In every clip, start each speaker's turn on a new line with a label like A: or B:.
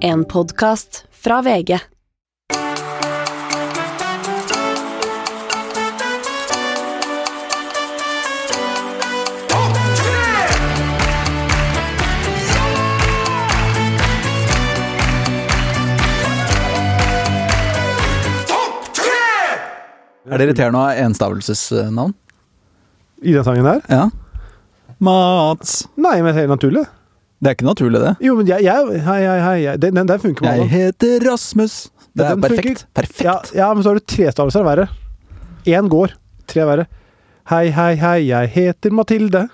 A: En podkast fra VG.
B: Topp tre!
C: Er det irriterende å ha enstavelsesnavn?
D: I den sangen der?
C: Ja. Mats.
D: Nei, men helt naturlig.
C: Det er ikke naturlig, det.
D: Jo, men jeg, jeg Hei, hei, hei. jeg- Den, den, den funker med
C: Jeg
D: alle.
C: heter Rasmus. Det
D: Ja,
C: er
D: den
C: perfekt.
D: funker.
C: Perfekt.
D: Ja, ja, men så har du tre stavelser verre. Én går, tre verre. Hei, hei, hei, jeg heter Mathilde.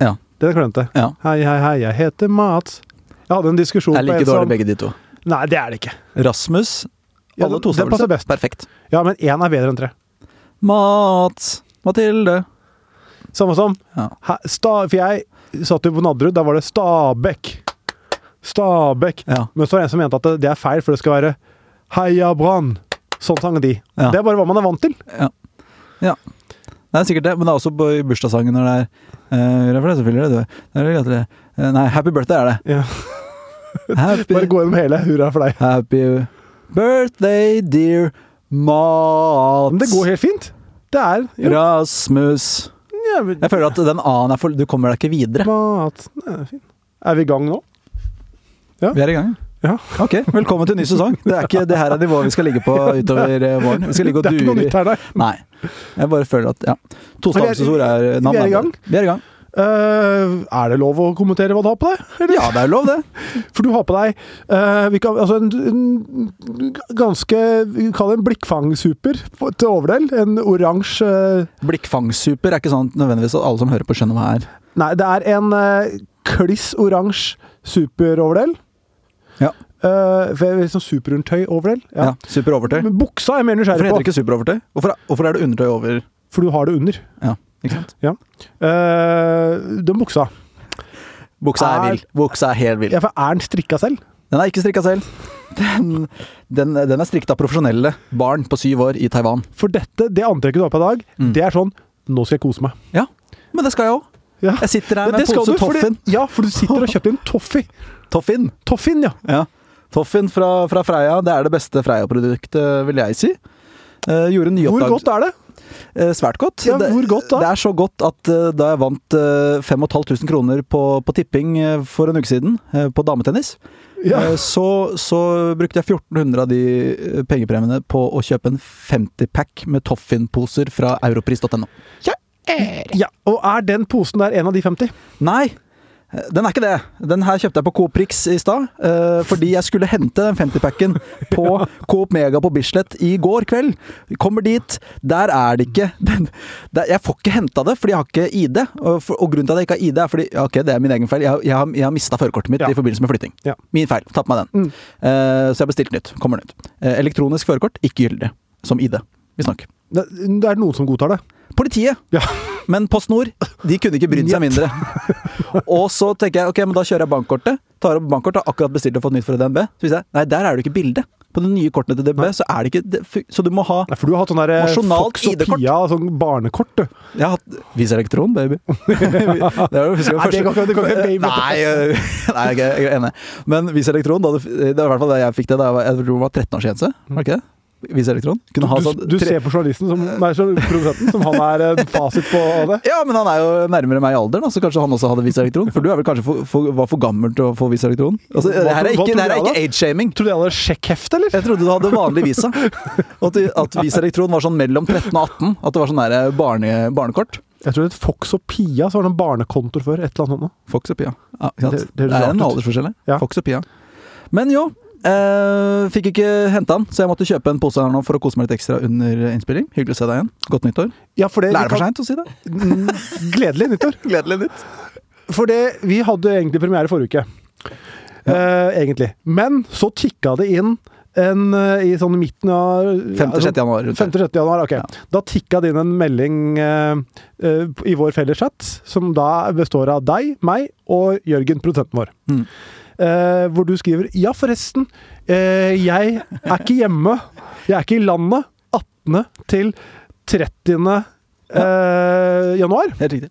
C: Ja.
D: Den klønete.
C: Ja.
D: Hei, hei, hei, jeg heter Mats. Jeg hadde en diskusjon
C: Det er like
D: en
C: dårlig begge de to.
D: Nei, det er det ikke.
C: Rasmus.
D: sånn. Ja,
C: Alle
D: den-
C: to
D: den passer best.
C: Perfekt.
D: Ja, men én er bedre enn tre.
C: Mats. Mathilde.
D: Samme som
C: Ja.
D: he, sta, For jeg satt jo på Nadderud, der var det Stabekk. Stabekk.
C: Ja.
D: Men så var det en som mente at det- det er feil, for det skal være Heia Brann. Sånn sang de.
C: Ja.
D: Det er bare hva man er vant til.
C: Det er sikkert det, men det er også på- i bursdagssangen når det er eh, Hurra for deg, så fyller det, du. Det er gratulerer. Eh, Nei, happy birthday er det.
D: Ja. Bare
C: Happy,
D: gå gjennom hele. Hurra for deg.
C: happy birthday, dear Mats.
D: Men det går helt fint. Det er jo,
C: Rasmus.
D: ja, men,
C: Jeg føler at den A-en er for Du kommer deg ikke videre.
D: mat. Nei, det er fint. Er vi i gang nå?
C: Vi er i gang.
D: Ja.
C: Ok, velkommen til ny sesong. Det er ikke det her er nivået vi skal ligge på utover eh, våren. Vi Eh, skal ligge og
D: Det er ikke noe
C: dure.
D: nytt her, nei.
C: Nei. Jeg bare føler at ja. Tostavelsesord er eh,
D: Vi er i gang.
C: Vi er i gang.
D: Eh, er det lov å kommentere hva du har på deg? Eller?
C: Ja, det er lov, det.
D: For du har på deg eh, vi kan, altså en, en ganske Vi kan kalle det en blikkfangsuper på- til overdel. En oransje eh,
C: Blikkfangsuper er ikke sånn at nødvendigvis at alle som hører på, skjønner hva det er.
D: Nei, det er en eh, kliss oransje superoverdel.
C: Ja.
D: Eh, for jeg vil sånn superundertøy-overdel.
C: Ja.
D: Ja.
C: super overtøy.
D: Men buksa er jeg mer
C: Hvorfor
D: nysgjerrig
C: heter
D: på,
C: det ikke superovertøy? Hvorfor, hvorfor er det undertøy over
D: for du har det under.
C: Ja, ikke sant?
D: Eh, den buksa.
C: Buksa er
D: Er-
C: vill. Buksa er helt vill.
D: Ja, for er den strikka selv?
C: Den er ikke strikka selv. Den, den, den er strikket av profesjonelle barn på syv år i Taiwan.
D: For dette, det antrekket du har på i dag,
C: Mm.
D: det er sånn Nå skal jeg kose meg.
C: Ja, men det skal jeg òg.
D: Ja.
C: Jeg sitter her
D: Men
C: med en
D: skal
C: pose
D: du, for det-
C: Toffin.
D: Ja, for du sitter og har kjøpt en Toffee.
C: Toffin.
D: Toffin, ja.
C: Ja. Toffin fra, fra Freia. Det er det beste Freia-produktet, vil jeg si. Eh, gjorde en ny
D: Hvor
C: oppdagelse-
D: godt er det?
C: Eh, svært godt.
D: Ja, hvor godt da?
C: Det er så godt at eh, da jeg vant eh, 5500 kroner på, på tipping eh, for en uke siden, eh, på dametennis,
D: Ja.
C: eh, så, så brukte jeg 1400 av de eh, pengepremiene på å kjøpe en 50-pack med Toffin-poser fra europris.no.
D: ja. Og er den posen der en av de 50?
C: Nei! eh, Den er ikke det. Den her kjøpte jeg på Coop Prix i stad, eh, fordi jeg skulle hente den 50-packen på Coop Mega på Bislett i går kveld. Kommer dit, der er det ikke den, der, Jeg får ikke henta det, fordi jeg har ikke ID. Og, for, og grunnen til at jeg ikke har ID, er fordi ja, Ok, det er min egen feil. Jeg, har- jeg, har- jeg har mista førerkortet mitt
D: Ja.
C: i forbindelse med flytting.
D: Ja.
C: Min feil. Tatt meg den.
D: Mm.
C: Eh, så jeg bestilte nytt. Kommer nytt. Eh, elektronisk førerkort, ikke gyldig. Som ID, visstnok.
D: Det, det er noen som godtar det.
C: Politiet
D: Ja.
C: men PostNord, de kunne ikke brydd seg mindre. Og så tenker jeg ok, men da kjører jeg bankkortet. Tar opp bankkortet, har akkurat bestilt og fått nytt fra DNB. Så viser jeg nei, der er det ikke bilde. På de nye kortene til DNB så er det ikke det, fu- Så du må ha
D: Nei, for du har hatt sånn der eh,
C: Nasjonalt
D: Fox og
C: ID-kort.
D: Pia, sånn barnekort, du.
C: Jeg har hatt Vis elektron, baby. det er jo, husker
D: Nei, det går ikke- det går ikke, baby.
C: Nei, eh, nei, jeg er ikke- jeg er enig. Men Vis elektron, da, det det var i hvert fall det jeg fikk det da jeg var, jeg tror det var 13 års grense. Var det ikke det? Vis elektron. Kunne ha
D: Du,
C: sånn
D: du
C: tre-
D: ser på journalisten som, nei, så produsenten som han er en fasit på det.
C: Ja, men han er jo nærmere meg i alderen, da, så kanskje han også hadde Visa Elektron. For du er vel kanskje for, for, var for gammel til å få Visa Elektron? Altså,
D: Hva
C: det her
D: tro-
C: er
D: hva
C: ikke, det her er
D: trodde jeg
C: ikke age-shaming.
D: Tror du det hadde sjekkhefte, eller?
C: Jeg trodde du hadde vanlig visa. Og at, at Visa Elektron var sånn mellom 13 og 18. At det var sånn der barne, barnekort.
D: Jeg tror det het Fox og Pia, så var det en barnekontor før. Et eller annet sånt noe.
C: Fox og Pia. Ja, ikke sant?
D: Det-
C: Det,
D: det
C: er en
D: høres rart ut.
C: aldersforskjell her.
D: Ja.
C: Fox og Pia. Men jo. Eh, fikk ikke henta den, så jeg måtte kjøpe en pose her nå for å kose meg litt ekstra under innspilling. Hyggelig å se deg igjen. Godt nyttår.
D: Ja, for det,
C: Det er det for seint å si det.
D: seint? Eh, Gledelig nyttår.
C: Gledelig nytt.
D: For det, vi hadde egentlig premiere forrige uke. Eh, egentlig. Men så tikka det inn en, eh, i sånn midten av
C: 5.-6. januar. rundt her.
D: 5.-6. januar, ok.
C: Ja.
D: Da tikka det inn en melding eh, eh, i vår felles chat, som da består av deg, meg og Jørgen, produsenten vår.
C: Mm.
D: Eh, hvor du skriver Ja, forresten. eh, jeg er ikke hjemme. Jeg er ikke i landet 18. til eh, 30. eh, januar.
C: Helt riktig.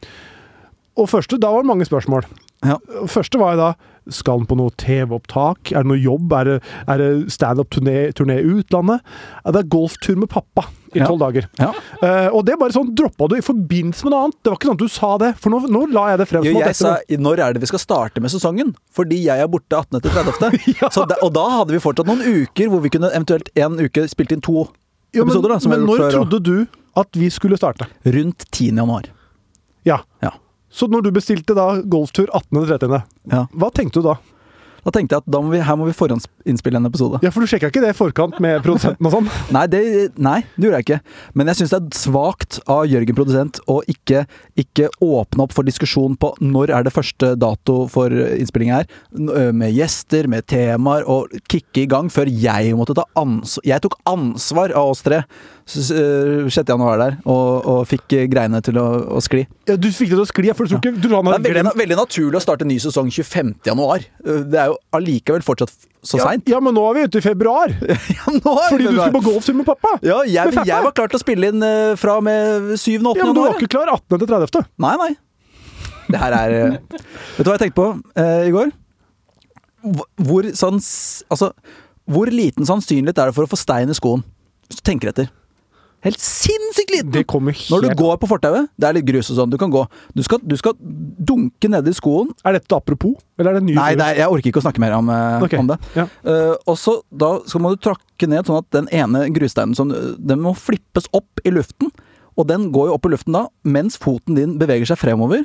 D: Og første, da var det mange spørsmål.
C: Ja.
D: Første var jo da Skal han på noe TV-opptak? Er det noe jobb? Er det, er det standup-turné turné i utlandet? Ja, Det er golftur med pappa i
C: Ja.
D: tolv dager.
C: Ja.
D: Eh, og det bare sånn droppa du i forbindelse med noe annet. Det var ikke sånn at du sa det. For nå, nå la jeg det frem
C: Jo,
D: som at
C: jeg
D: dette
C: sa
D: var-
C: når er det vi skal starte med sesongen? Fordi jeg er borte 18. til 30. Så da- og da hadde vi fortsatt noen uker hvor vi kunne eventuelt en uke spilt inn to
D: Jo, men,
C: episoder. Da, som
D: men
C: jeg har
D: når
C: gjort før, og-
D: trodde du at vi skulle starte?
C: Rundt 10. januar.
D: Ja.
C: Ja.
D: Så når du bestilte da golftur 18.-30.,
C: Ja.
D: hva tenkte du da?
C: Da tenkte jeg at da må vi, her må vi forhåndsinnspille en episode.
D: Ja, for du sjekka ikke det i forkant med produsenten og sånn?
C: Nei, det, nei, det gjorde jeg ikke. Men jeg syns det er svakt av Jørgen produsent å ikke, ikke åpne opp for diskusjon på når er det første dato for innspilling her. N- ø, Med gjester, med temaer, og kicke i gang før jeg måtte ta ansvar Jeg tok ansvar av oss tre s- s- ø, 6. januar der, og, og fikk eh, greiene til å, å skli.
D: Ja, du fikk det til å skli, for du tror ikke du, tror han
C: Det
D: har
C: er veldig,
D: glemt
C: veldig naturlig å starte en ny sesong 25. januar. Ø, Det er jo allikevel fortsatt f- så seint.
D: Ja, men nå er vi ute i februar!
C: Ja, nå er
D: Fordi
C: det
D: du
C: bra.
D: skulle på golftur med pappa!
C: Ja, jeg,
D: Med pappa.
C: jeg var klar til å spille inn eh, fra og med 7. og 8.
D: Ja, men du var
C: januar.
D: ikke klar 18. til 30.
C: Nei, nei. Det her er eh, Vet du hva jeg tenkte på eh, i går? Hvor- Hvor, sans, altså, hvor liten sannsynlighet er det for å få stein i skoen? Hvis du tenker etter. Helt sinnssykt liten!
D: Det kommer helt
C: Når du går på fortauet, det er litt grus og sånn, du kan gå. Du skal, du skal dunke nedi skoen.
D: Er dette apropos, eller er det en ny
C: Nei, nei, jeg orker ikke å snakke mer om, eh,
D: Ok.
C: om det.
D: Ja.
C: Eh, og så da skal må du trakke ned sånn at den ene grussteinen som, den må flippes opp i luften. Og den går jo opp i luften da, mens foten din beveger seg fremover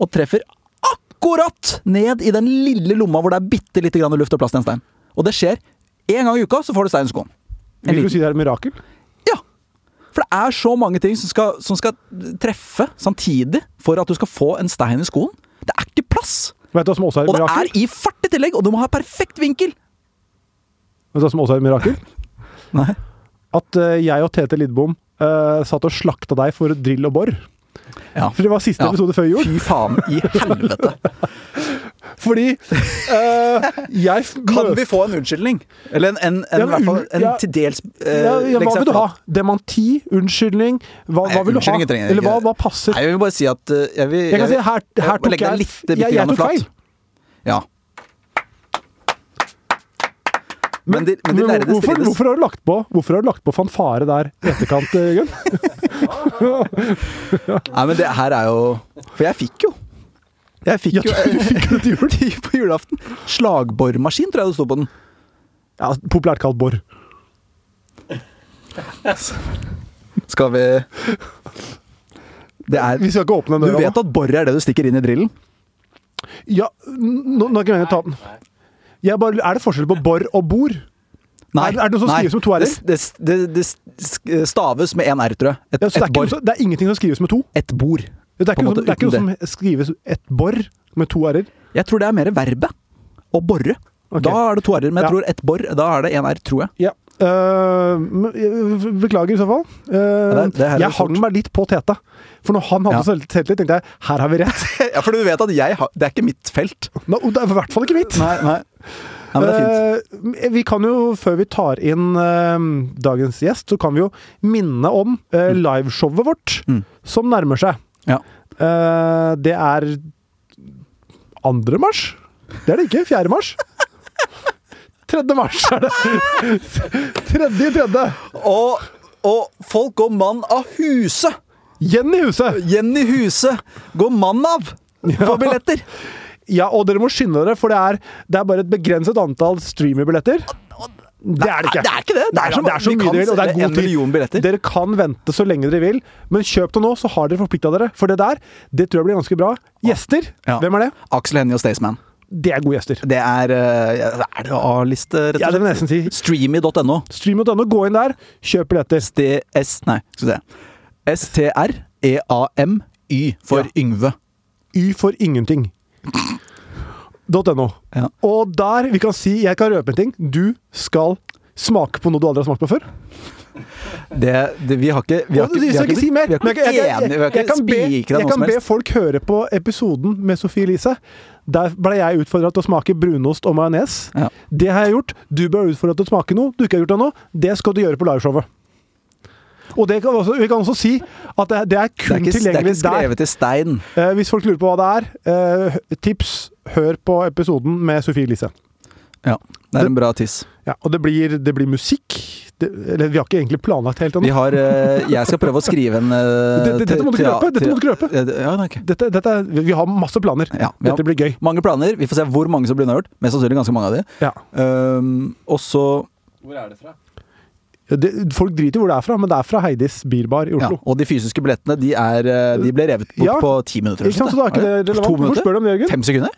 C: og treffer akkurat ned i den lille lomma hvor det er bitte lite grann luft og plass til en stein. Og det skjer én gang i uka, så får du stein i skoen. En
D: Vil
C: liten-
D: du si det er et mirakel?
C: Ja! For det er så mange ting som skal, som skal treffe samtidig for at du skal få en stein i skoen. Det er ikke plass!
D: Vet du hva som også er et
C: Og det
D: mirakel?
C: er i fart i tillegg, og du må ha perfekt vinkel!
D: Vet du hva som også er et mirakel?
C: Nei.
D: At eh, jeg og Tete Lidbom eh, satt og slakta deg for drill og bor.
C: Ja.
D: For det var siste
C: Ja.
D: episode før jul.
C: Fy faen i helvete!
D: Fordi eh, jeg f-
C: Kan
D: mø-
C: vi få en unnskyldning? Eller en, en, en,
D: Ja,
C: i hvert fall, en
D: ja.
C: til dels eh,
D: ja, ja,
C: legge
D: Hva
C: seg
D: vil du ha?
C: flat.
D: Dementi? Unnskyldning? Hva,
C: Nei,
D: hva vil du ha?
C: unnskyldninger trenger jeg
D: Eller hva,
C: ikke.
D: hva passer?
C: Nei, jeg vil bare si at eh, jeg vil,
D: Jeg kan si her,
C: jeg
D: her
C: vil
D: tok
C: legge deg
D: jeg,
C: litt, bitte
D: jeg, jeg
C: grann
D: tok
C: flat.
D: feil.
C: Ja. Men, de, men de
D: Men
C: lærde
D: hvorfor,
C: strides.
D: hvorfor, har du lagt på, hvorfor har du lagt på fanfare der i etterkant, eh, Jørgen?
C: Nei, men det her er jo For jeg fikk jo. Jeg fikk
D: Ja,
C: jo på julaften. Slagbormaskin, tror jeg det sto på den.
D: Ja, populært kalt bor.
C: Skal vi Det er
D: Vi skal ikke åpne den
C: Du
D: døra. nå.
C: vet at bor er det du stikker inn i drillen?
D: Ja, n- nå, nå er ikke meningen å ta den. Jeg bare, er det forskjell på bor og bor? Er det- er det noe som skrives med to r-er?
C: Det, det, det, det sk- staves med én r, tror jeg. Et,
D: Ja, så det, er
C: et,
D: ikke, noe
C: bor,
D: som- det er ingenting som skrives med to?
C: et bord.
D: Det
C: på
D: er ikke,
C: en
D: noe som,
C: måte,
D: det er ikke
C: uten
D: noe som skrives et bor med to r-er?
C: Jeg tror det er mer verbet å bore.
D: Ok.
C: Da er det to r-er, men jeg
D: Ja.
C: tror et bor, da er det én r, tror jeg.
D: Ja. Eh, men, eh, beklager i så fall. Eh,
C: det- det her er
D: jeg
C: stort.
D: hang meg litt på Tete. For når han hadde
C: Ja.
D: selv- selvtillit, tenkte jeg her har vi rett.
C: Ja, for du vet at jeg har Det er ikke mitt felt.
D: Nå, det er i hvert fall ikke mitt.
C: Nei, nei. men det er fint.
D: Eh, vi kan jo, før vi tar inn eh, dagens gjest, så kan vi jo minne om eh, liveshowet vårt,
C: Mm.
D: som nærmer seg.
C: Ja.
D: Eh, det er 2. mars? Det er det ikke. 4. mars. 3. mars er det. Tredje i tredje.
C: Og, og folk går mann av huse!
D: Jenny Huset.
C: Jenny Huse går mann av! For billetter!
D: Ja, og dere må skynde dere, for det er, det er bare et begrenset antall streamerbilletter. Det er det ikke.
C: Nei, det er ikke det. Det er
D: Nei,
C: så-
D: det er så
C: vi
D: mye
C: kan
D: dere vil, og det er
C: selge
D: god
C: en
D: tid.
C: million billetter.
D: Dere kan vente så lenge dere vil, men kjøp det nå, så har dere forplikta dere. For det der, det tror jeg blir ganske bra. Gjester,
C: Ja.
D: hvem er det?
C: Aksel Hennie og Staysman.
D: Det er gode gjester.
C: Det er eh, Er det A-liste, rett
D: Ja,
C: og
D: det vil jeg
C: slett?
D: nesten si.
C: Streamy.no.
D: Stream.no, gå inn der, kjøp billetter.
C: STS Nei, skal vi se. E STR-EAMY for
D: Ja.
C: Yngve.
D: Y for ingenting. .no.
C: Ja.
D: Og der, vi kan si, jeg kan røpe en ting, du skal smake på noe du aldri har smakt på før.
C: Det, det, vi har ikke Vi har
D: Og
C: ikke,
D: vi
C: vi har
D: skal
C: ikke,
D: ikke si mer.
C: Vi har ikke
D: Men jeg-
C: blitt
D: jeg- jeg-
C: enige, vi har
D: jeg
C: ikke
D: kan be-
C: spikra
D: Jeg
C: noe
D: kan
C: som
D: be
C: helst.
D: folk høre på episoden med Sofie Elise. Der ble jeg utfordra til å smake brunost og majones.
C: Ja.
D: Det har jeg gjort. Du ble utfordra til å smake noe du ikke har gjort ennå. Det skal du gjøre på liveshowet. Og det kan også, vi kan også si at det, det er
C: Det
D: kun
C: er ikke, det er
D: tilgjengelig
C: ikke
D: der.
C: skrevet i stein.
D: Eh, hvis folk lurer på hva det er, eh, tips hør på episoden med Sofie Elise.
C: Ja, det er en bra tiss.
D: Ja, og det blir, det blir musikk. Det, eller, vi har ikke egentlig planlagt helt
C: Vi
D: ennå.
C: har eh, Jeg skal prøve å skrive en eh,
D: Dette- dette må du
C: te-
D: ikke røpe, dette
C: te-
D: må du ikke røpe.
C: Ja, det- Ja, det er ikke.
D: Dette, dette, er- vi har masse planer.
C: Ja, vi har-
D: Dette blir gøy.
C: Mange planer. Vi får se hvor mange som blir unnagjort. Mest sannsynlig ganske mange av de.
D: Ja.
C: Um, og så
D: Det, folk driter i hvor det er fra, men det er fra Heidis Birbar i
C: ja,
D: Oslo.
C: Og de fysiske billettene de, er, eh, de ble revet bort
D: Ja.
C: på ti minutter. eller
D: Ikke sant, så da
C: noe
D: er
C: sånt,
D: ikke det
C: ja.
D: relevant.
C: To
D: Hvorfor
C: minutter?
D: spør du om det, Jørgen?
C: Fem sekunder?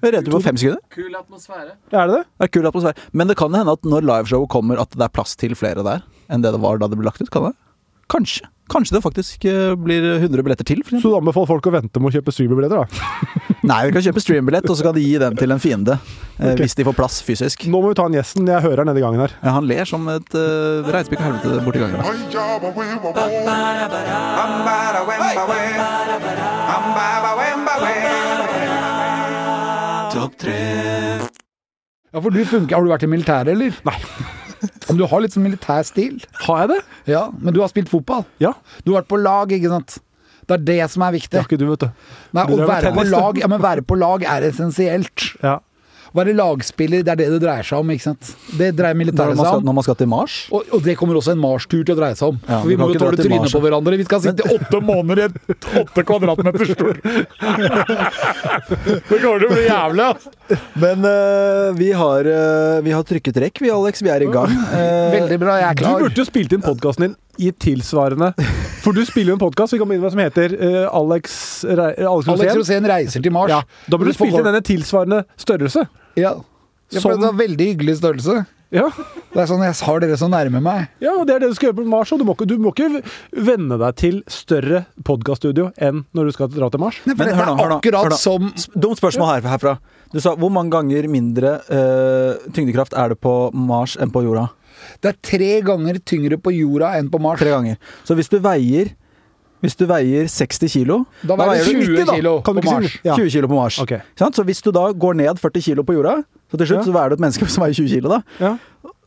C: Vi redde på fem sekunder.
E: Kul atmosfære.
D: Er det det?
C: Det er kul atmosfære. Men det kan hende at når liveshowet kommer, at det er plass til flere der enn det det var da det ble lagt ut. Kan det? Kanskje. Kanskje det faktisk eh, blir 100 billetter til. For eksempel.
D: Så du anbefaler folk å vente med å kjøpe streamerbilletter, da.
C: Nei, vi kan kjøpe streambillett, og så kan de gi den til en fiende. eh, Hvis de får plass fysisk.
D: Nå må vi ta en gjesten. Jeg hører han nede i gangen her.
C: Ja, han ler som et uh, reitspikka helvete borti gangen.
B: Oi, ja, ba, we, ba, bo.
F: Ja, for du funker. Har du vært i militæret, eller? Nei. Men du har litt sånn militær stil.
D: Har jeg det?
F: Ja, men du har spilt fotball.
D: Ja.
F: Du har vært på lag, ikke sant? Det er det som er
D: Det
F: viktig.
D: har ikke du, vet du.
F: Nei,
D: Du drev med
F: å være på
D: tennis, du.
F: lag, ja, men være på lag er essensielt.
D: Ja.
F: Å Være lagspiller, det er det det dreier seg om, ikke sant? Det dreier
C: Når
F: militæret
C: man, skal,
F: seg om.
C: når man skal til Mars
F: Og, og det kommer også en marstur til å dreie seg om.
C: Ja,
F: for
C: vi kan
F: vi må
C: ikke
F: jo
C: dra
F: tåle
C: til
F: trynet
C: Mars.
F: på hverandre. Vi skal sitte åtte måneder i et åtte kvadratmeter stort Det kommer til å bli jævlig, ass.
C: Men eh, vi, har, eh, vi har trykket rekk, vi, Alex. Vi er i gang. Eh,
F: Veldig bra, jeg er
D: Du
F: klar.
D: burde jo spilt inn podkasten din i tilsvarende For du spiller jo en podkast som heter eh, Alex, Re Alex
F: Alex
D: Rosén.
F: Rosén reiser til Mars.
D: Ja, da burde du spilt inn denne tilsvarende størrelse.
F: Ja. Ja, for
D: Som-
F: det var veldig hyggelig størrelse.
D: Ja,
F: Det er sånn, jeg har dere så nærme meg.
D: ja og Det er det du skal gjøre på Mars. Og du, må ikke, du må ikke venne deg til større podkaststudio enn når du skal dra til Mars.
F: Nei, for
C: Men
F: dette
C: hør nå, hør
F: er
C: nå, hør
F: akkurat
C: nå.
F: som
C: s- Dumt spørsmål her, herfra. Du sa hvor mange ganger mindre eh, tyngdekraft er det på Mars enn på jorda?
F: Det er tre ganger tyngre på jorda enn på Mars.
C: Tre ganger. Så hvis du veier hvis du veier 60 kilo
F: Da veier du 20
C: da.
F: kilo
C: Kan du
F: på
C: ikke si
F: Mars.
C: 20
D: Ja.
C: 20 kilo på Mars.
D: Ok.
C: Ikke sant? Så hvis du da går ned 40 kilo på jorda, så til slutt
D: Ja.
C: så veier du et menneske som veier 20 kilo, da.
D: Ja.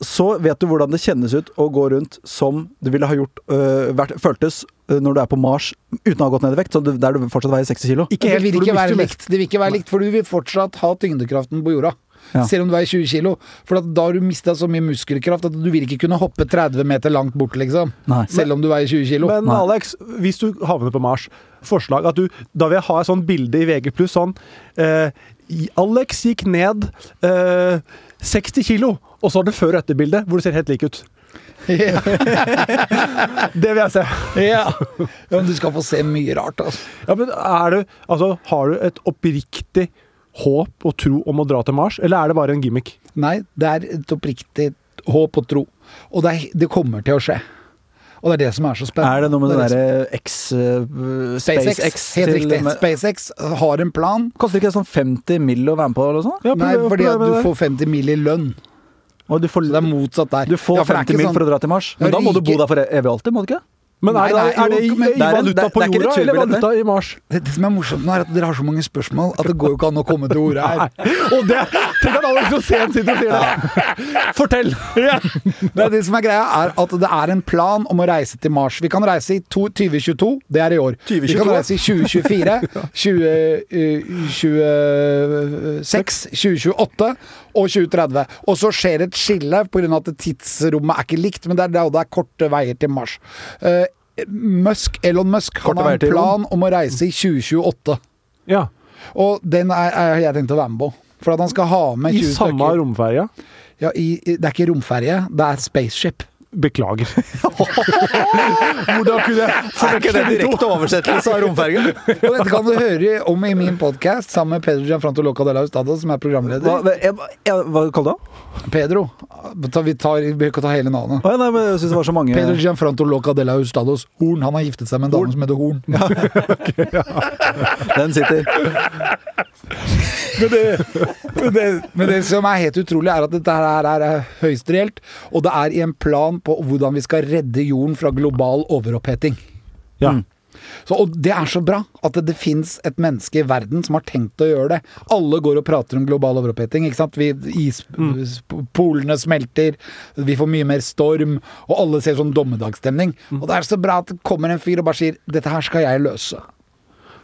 C: så vet du hvordan det kjennes ut å gå rundt som du ville ha gjort øh, vært, føltes øh, når du er på Mars uten å ha gått ned i vekt, så du, der du fortsatt veier 60 kilo.
F: Det
D: helt,
F: vil
D: for du
F: ikke være
D: mister mest.
F: likt, det vil ikke være likt, for du vil fortsatt ha tyngdekraften på jorda.
C: Ja.
F: Selv om du veier 20 kilo. For at da har du mista så mye muskelkraft at du vil ikke kunne hoppe 30 meter langt bort, liksom.
C: Nei.
F: Selv om du veier 20 kilo.
D: Men
C: Nei.
D: Alex, hvis du havner på Mars, forslag at du Da vil jeg ha et sånt bilde i VG pluss sånn eh, i- Alex gikk ned eh, 60 kilo, og så har du før- og etterbildet hvor du ser helt lik ut.
F: ja.
D: Det vil jeg se.
F: ja, men du skal få se mye rart, altså.
D: Ja, men er du, altså, Har du et oppriktig håp og tro om å dra til Mars, eller er det bare en gimmick?
F: Nei, det er et oppriktig håp og tro. Og det, er, det kommer til å skje. Og det er det som er så spennende.
C: Er det noe med den
F: det som-
C: derre
D: liksom-
C: X øh,
F: SpaceX,
C: SpaceX
F: helt
C: til-
F: riktig.
C: med-
F: SpaceX har en plan.
C: Koster ikke det sånn 50 mill. å være med på? eller noe sånt?
D: Ja,
F: Nei,
D: prøv-
F: fordi
D: prøv
F: at
D: med
F: du
D: det.
F: får 50 mil i lønn.
C: Og du får,
F: Så det er motsatt der.
C: du får
F: Ja, for det er
C: 50
F: ikke
C: mill.
F: sånn-
C: for å dra til Mars,
F: Ja,
C: men da må du
F: rike-
C: bo der for evig og alltid, må du ikke?
D: Men er det,
F: Nei, nei,
D: er det i,
F: jo, men-
D: i
C: Det er en- det
D: valuta
C: er-
D: på
C: det er ikke
D: jorda, eller
C: returbillett,
D: valuta i Mars?
F: Det, det som er morsomt nå, er at dere har så mange spørsmål at det går jo ikke an å komme til ordet her.
D: Og det, Tenk at Alex Rosén sitter og sier det! Fortell!
F: Det, det som er greia, er at det er en plan om å reise til Mars. Vi kan reise i to, 2022, det er i år. Vi
C: 2022?
F: kan reise i 2024, eh, 2026, 2028 og 2030. Og så skjer et skille pga. at det tidsrommet er ikke likt, men det er da det er korte veier til Mars. Eh, Musk, Elon Musk han
C: Korte
F: har
C: veier
F: en
C: til
F: plan om å reise i 2028.
D: Ja.
F: Og den er, er jeg tenkt å være med på. For at han skal ha med
D: I
F: 20
D: samme
F: stykker.
D: romferja.
F: Ja, i, i, det er ikke romferje, det er spaceship.
D: Beklager. Hvordan kunne jeg forveksle de to?
C: oversettelse av romfergen?
F: Og dette kan du høre om i min podkast sammen med Pedro Gianfranto Loca de la Hustada, som er
C: Hva,
F: programleder.
C: jeg, jeg, hva kalte du det?
F: Pedro. Ta- Vi tar, vi behøver ikke å ta hele navnet.
C: Å, ja, nei, men jeg synes det var så mange
F: Pedro Gianfranto Loca de la Hustados Horn. Han har giftet seg med en dame som heter Horn.
C: Den sitter.
F: Men det, men det som er helt utrolig, er at dette her er, er høyst reelt. Og det er i en plan på hvordan vi skal redde jorden fra global overoppheting.
D: Ja.
F: Så, og det er så bra at det, det fins et menneske i verden som har tenkt å gjøre det. Alle går og prater om global overoppheting. ikke sant? Vi, is, Polene smelter, vi får mye mer storm, og alle ser sånn dommedagsstemning. Og det er så bra at det kommer en fyr og bare sier 'dette her skal jeg løse'.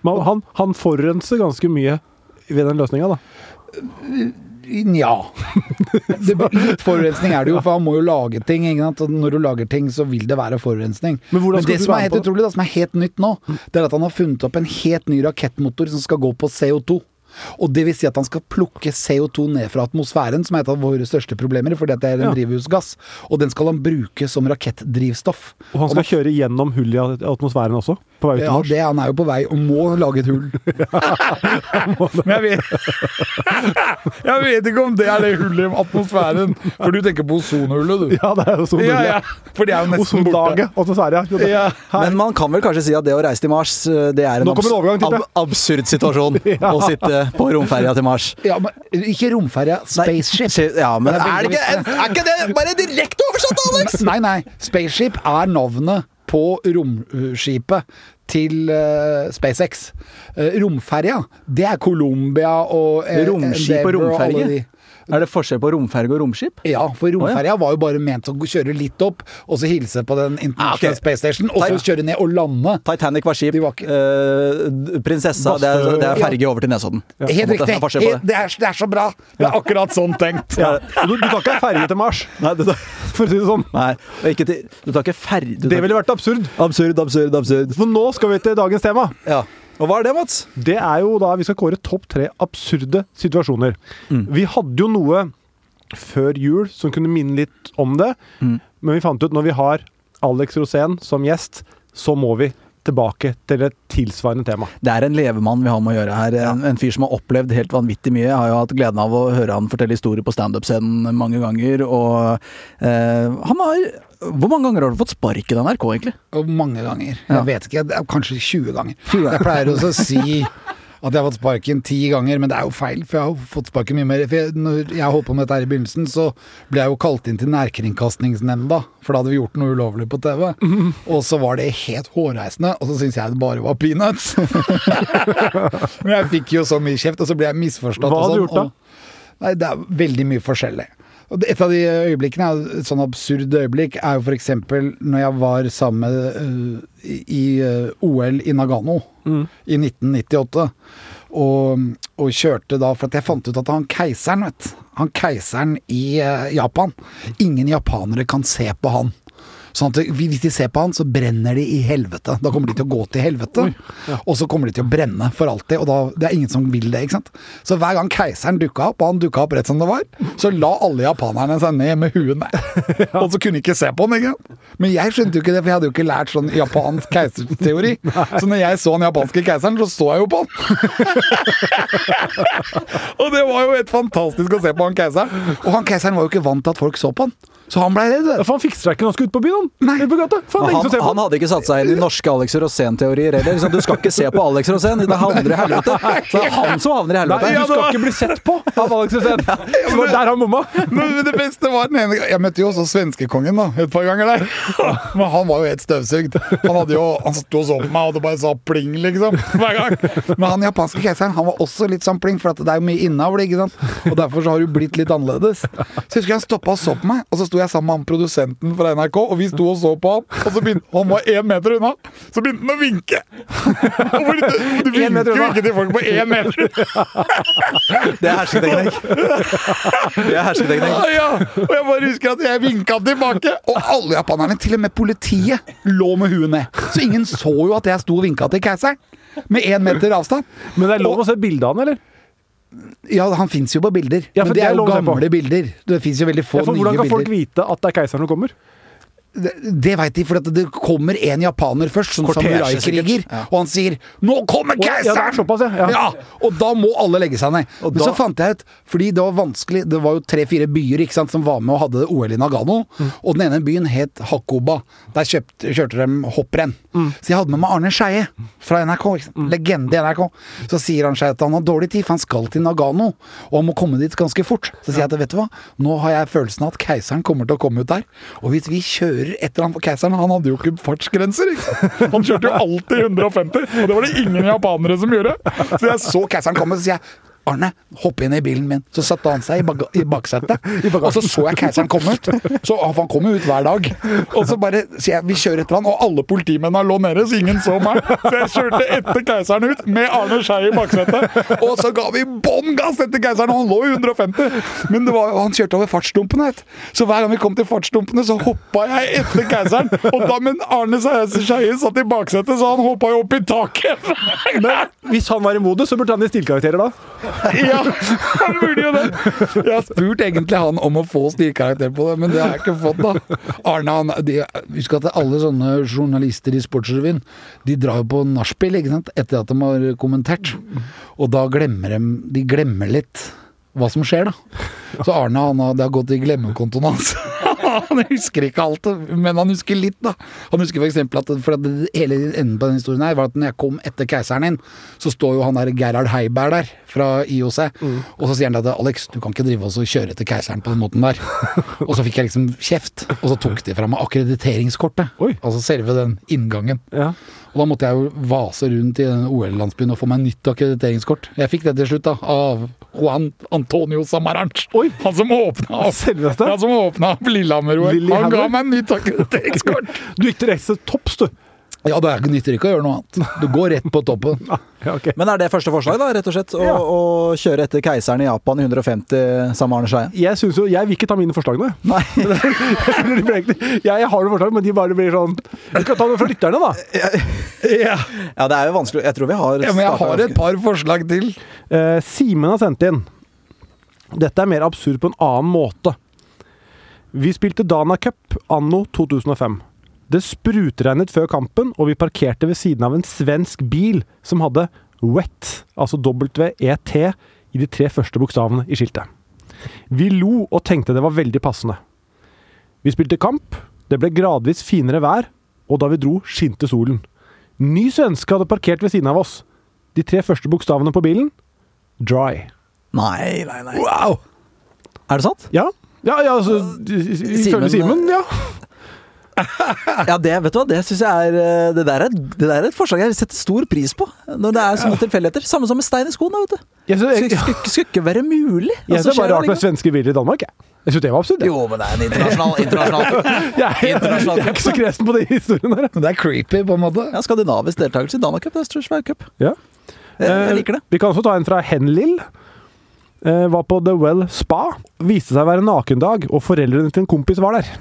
D: Men han, han forurenser ganske mye ved den løsninga, da.
F: Nja. Det, litt forurensning er det jo, for han må jo lage ting. Ikke sant? Og når du lager ting, så vil det være forurensning.
D: Men hvordan skal
F: det
D: du
F: som
D: være med
F: er helt
D: på det?
F: utrolig, da, som er helt nytt nå, det er at han har funnet opp en helt ny rakettmotor som skal gå på CO2. Og det vil si at han skal plukke CO2 ned fra atmosfæren, som er et av våre største problemer, fordi at det er
D: Ja.
F: en drivhusgass. Og den skal han bruke som rakettdrivstoff.
D: Og han skal kjøre gjennom hull i at- atmosfæren også, på vei ut til
F: Ja,
D: Mars.
F: det, han er jo på vei, og må lage et hull. Men jeg vet, jeg vet ikke om det er det hullet i atmosfæren, for du tenker på ozonhullet, du.
D: Ja, det er jo sånn
F: Ja,
D: mulig.
F: ja, for det er jo nesten borte.
D: Ozonlaget, atmosfære, ja. Jo, det-
F: Ja.
C: Men man kan vel kanskje si at det å reise til Mars, eh, det er en
D: Nå kommer
C: abs-
D: overgang, tipper jeg.
C: ab absurd situasjon. Å sitte på romferja til Mars.
F: Ja, men ikke romferja,
C: Nei,
F: spaceship.
C: se- Ja, men
F: Det er
C: er det ikke, er, er ikke det bare direkte oversatt, Alex?
F: Nei, nei, spaceship er navnet på romskipet til eh, SpaceX. Eh, romferja, det er Colombia og eh,
C: Romskip og
F: Endeavour alle
C: romferge?
F: de.
C: Er det forskjell på romferge og romskip?
F: Ja, for romferja var jo bare ment å kjøre litt opp, og så hilse på den
C: Ah, ok.
F: internasjonale space station, og så
C: Nei.
F: kjøre ned og lande.
C: Titanic var skip.
F: De var ikke-
C: eh, prinsessa, det er, det er ferge over til Nesodden. På en
F: Helt
C: måte.
F: riktig.
C: Det er forskjell på
F: Helt- Det er, det er så bra. Det er akkurat sånn tenkt.
D: Ja. Du, du tar ikke en ferge til Mars,
C: Nei, du tar,
D: for å si det sånn.
C: nei, og ikke til, du tar ikke ferge du
D: Det
C: tar-
D: ville vært absurd.
C: Absurd, absurd, absurd.
D: For nå skal vi til dagens tema.
C: Ja. Og hva er det, Mats?
D: Det er jo da vi skal kåre topp tre absurde situasjoner. Vi hadde jo noe før jul som kunne minne litt om det, men vi fant ut når vi har Alex Rosén som gjest, så må vi tilbake til et tilsvarende tema.
C: Det er en levemann vi har med å gjøre her. En, en fyr som har opplevd helt vanvittig mye. Jeg har jo hatt gleden av å høre han fortelle historier på standup-scenen mange ganger. Og eh, han har Hvor mange ganger har du fått sparken av NRK, egentlig?
F: Og mange ganger.
C: Ja.
F: Jeg vet ikke, det er kanskje 20 ganger.
C: 20 ganger.
F: Jeg pleier også å si at jeg har fått sparken ti ganger, men det er jo feil, for jeg har jo fått sparken mye mer. For jeg, når jeg holdt på med dette her i begynnelsen, så ble jeg jo kalt inn til Nærkringkastingsnemnda, for da hadde vi gjort noe ulovlig på TV.
D: Mhm.
F: Og så var det helt hårreisende, og så syntes jeg det bare var peanuts. men jeg fikk jo så mye kjeft, og så ble jeg misforstått.
D: Hva
F: og
D: hadde du
F: sånn,
D: gjort da?
F: og- Nei, det er veldig mye forskjellig. Og det- Et av de øyeblikkene, er- et sånn absurd øyeblikk, er jo f.eks. når jeg var sammen med øh, i i, øh, OL i Nagano i 1998. Og, og kjørte da For at jeg fant ut at han keiseren, vet du Han keiseren i øh, Japan Ingen japanere kan se på han. Sånn at vi- Hvis de ser på han, så brenner de i helvete. Da kommer de til å gå til helvete. Og så kommer de til å brenne for alltid, og da, det er ingen som vil det. ikke sant? Så hver gang keiseren dukka opp, og han dukka opp rett som det var, så la alle japanerne seg ned med huet ned. Og så kunne de ikke se på han, ikke sant? Men jeg skjønte jo ikke det, for jeg hadde jo ikke lært sånn japansk keiserteori. Så når jeg så den japanske keiseren, så så jeg jo på han. Og det var jo helt fantastisk å se på han keiseren. Og han keiseren var jo ikke vant til at folk så på han, så han blei redd.
D: Ja, for han fikser seg ikke når han skal ut på byen, han!
F: Nei.
D: Ut på gata. Faen, det er
C: Han,
D: ingen som ser på
C: han
D: han.
C: hadde ikke satt seg inn i norske Alex Rosén-teorier heller. Liksom, du skal ikke se på Alex Rosén, det havner i helvete. Så det er han som havner i helvete.
D: Nei, du skal ikke bli sett på av Alex Rosén! Det var der han bomma.
F: Men det beste var den ene Jeg møtte jo også svenskekongen da, et par ganger der. Men han var jo helt støvsugd. Han hadde jo, han sto og så på meg, og det bare sa pling, liksom. Hver gang. Men han japanske keiseren han var også litt sånn pling, for at det er jo mye innavl, ikke sant. Og derfor så har du blitt litt annerledes. Så jeg husker han stoppa og så på meg, og så sto jeg sammen med han produsenten fra NRK, og vi sto og så på han, og så begynte han var én meter unna. Så begynte han å vinke. Og hvor- Du, du
D: En meter
F: vinker jo
D: unna.
F: ikke til folk på én meter unna.
C: Det er hersketeknikk. Det er hersketeknikk.
F: Ja, og jeg bare husker at jeg vinka tilbake. Og alle japanerne, til og med politiet, lå med huet ned. Så ingen så jo at jeg sto og vinka til keiseren. Med én meter avstand.
D: Men det er lov å se bilde av han, eller?
F: Ja, han fins jo på bilder.
D: Ja, for
F: men det,
D: det er
F: er jo
D: lov å se på.
F: gamle bilder. Det fins jo veldig få
D: Ja, for
F: nye
D: hvordan kan folk
F: bilder.
D: vite at det er keiseren som kommer?
F: Det, det veit de, for at det kommer en japaner først, sånn som
C: Cortege,
F: samuraikriger.
C: sikkert. Ja.
F: Og han sier 'Nå kommer
D: Å, ja, det er
F: keiseren!'
D: såpass, ja. Ja.
F: og da må alle legge seg ned.
C: Og
F: Men
C: da-
F: så fant jeg ut, fordi det var vanskelig Det var jo tre-fire byer ikke sant, som var med og hadde OL i Nagano. Og den ene byen het Hakoba. Der kjøpt, kjørte de hopprenn. Så jeg hadde med meg Arne Skeie fra NRK. Ikke sant? Legende i NRK. Så sier Arne Skeie at han har dårlig tid, for han skal til Nagano. Og han må komme dit ganske fort. Så sier jeg at vet du hva, nå har jeg følelsen av at keiseren kommer til å komme ut der. Og hvis vi kjører for et eller annet for keiseren. Han hadde jo ikke fartsgrenser. Ikke? sant? Han kjørte jo alltid 150, og det var det ingen japanere som gjorde. Så jeg så keiseren komme, så sier jeg Arne, hopp inn i bilen min. Så satte han seg i, baga i baksetet. og så så jeg keiseren komme ut. Så ah, Han kom jo ut hver dag. Og så bare sier jeg vi kjører etter han, og alle politimennene lå nede, så ingen så meg. Så jeg kjørte etter keiseren ut med Arne Skei i baksetet. Og så ga vi bånn gass etter keiseren, og han lå i 150. Men det var, jo- han kjørte over fartsdumpene. vet du. Så hver gang vi kom til fartsdumpene, så hoppa jeg etter keiseren. Og da, men Arne Skeie satt i baksetet, så han hoppa jo opp i taket.
D: Men hvis han var i modus, så burde han gi stilkarakterer, da.
F: Ja, han burde jo det. Jeg har spurt egentlig han om å få stilkarakter på det, men det har jeg ikke fått, da. Arne, han de, Husk at alle sånne journalister i Sportsrevyen, de drar jo på nachspiel, ikke sant, etter at de har kommentert. Og da glemmer de De glemmer litt hva som skjer, da. Så Arne, han har, det har gått i glemmekontoen hans. Han husker ikke alt, men han husker litt, da. Han husker f.eks. at for at hele enden på den historien her var at når jeg kom etter keiseren inn, så står jo han der Gerhard Heiberg der fra IOC, og så sier han at Alex, du kan ikke drive oss og kjøre etter keiseren på den måten der. og så fikk jeg liksom kjeft, og så tok de fra meg akkrediteringskortet.
D: Oi.
F: Altså selve den inngangen.
D: Ja.
F: Og da måtte jeg jo vase rundt i den OL-landsbyen og få meg nytt akkrediteringskort. Jeg fikk det til slutt, da, av Juan Antonio Samaranch.
D: Oi.
F: Han som åpna opp.
D: Selveste?
F: Han som åpna opp Lillehammer-OL. Han
D: Lillehammer?
F: ga meg nytt akkrediteringskort.
D: Du gikk direkte til topps, du.
F: ja, det er- nytter ikke å gjøre noe annet. Du går rett på toppen.
D: Ja, ok.
C: Men er det første forslag, da, rett og slett? Å,
D: Ja.
C: å kjøre etter keiseren i Japan i 150 sammen med Arne Scheie?
D: Jeg synes jo, jeg vil ikke ta mine forslag nå.
C: Nei,
D: Jeg skjønner de blir egentlig- Jeg har noen forslag, men de bare blir sånn Vi kan ta det fra lytterne, da.
F: Ja.
C: ja, det er jo vanskelig. Jeg tror vi har
F: men jeg
C: startet
F: har
C: ganske-
F: et par forslag til.
D: Eh, Simen har sendt inn. Dette er mer absurd på en annen måte. Vi spilte Dana Cup anno 2005. Det sprutregnet før kampen, og vi parkerte ved siden av en svensk bil som hadde WET, altså W-E-T, i de tre første bokstavene i skiltet. Vi lo og tenkte det var veldig passende. Vi spilte kamp, det ble gradvis finere vær, og da vi dro, skinte solen. Ny svenske hadde parkert ved siden av oss. De tre første bokstavene på bilen Dry.
C: Nei, nei, nei.
F: Wow!
C: Er det sant?
D: Ja, ja, ja altså,
C: Simen, eh,
D: ifølge Simen, ja.
C: Ja, det vet du hva, det synes jeg er eh, det der er, det der er et forslag jeg setter stor pris på. Når det er sånne tilfeldigheter. Samme som med stein i skoen, da, vet du.
D: Jeg synes, jeg,
C: Skulle skulle- skulle ikke være mulig.
D: jeg
C: Altså,
D: synes det
C: skjer
D: var rart med
C: allikevel.
D: svenske biler i Danmark. Jeg, jeg synes det var absurd. Jeg.
C: Jo, men det er en internasjonal, internasjonal.
D: Jeg, jeg,
C: internasjonal
D: er ikke så kresen på de historiene der. jeg.
F: Men det er creepy, på en måte.
C: Ja, skandinavisk deltakelse i Danacup. Det er størst hver cup.
D: Ja.
C: Jeg, jeg
D: Eh,
C: liker det.
D: Vi kan også ta en fra Henlil. Eh, var på The Well Spa. Viste seg å være nakendag, og foreldrene til en kompis var der.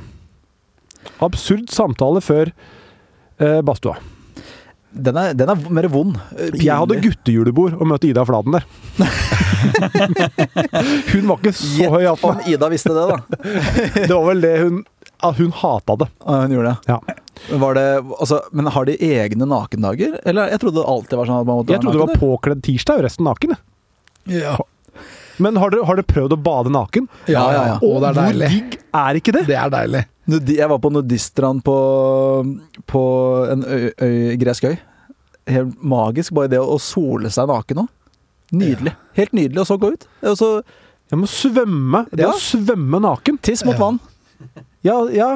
D: Absurd samtale før eh, badstua.
C: Den er, den er mer vond. Eh,
D: Jeg hadde
C: pinlig.
D: guttejulebord og møtte Ida Fladen der. Hun var ikke så høy i
C: Gjett
D: hatten.
C: om Ida visste det, da.
D: Det var vel det hun ja, Hun hata det.
C: Ja, Hun gjorde det.
D: Ja.
C: Var det altså, men har de egne nakendager? Eller jeg trodde det alltid var sånn at man måtte
D: Jeg trodde det var
C: naken,
D: påkledd tirsdag og resten naken. jeg.
F: Ja.
D: Men har dere, har dere prøvd å bade naken?
F: Ja, ja, ja. Og det er
D: hvor
F: deilig.
D: digg er ikke det?
F: Det er deilig.
C: eller? Nudi- Jeg var på nudiststrand på, på en øy, øy, gresk øy. Helt magisk, bare det å å sole seg naken òg. Nydelig. Helt nydelig, og så gå ut. Og så
D: Jeg må svømme. Det
C: Ja.
D: å svømme naken.
C: tiss mot vann.
D: Ja, ja.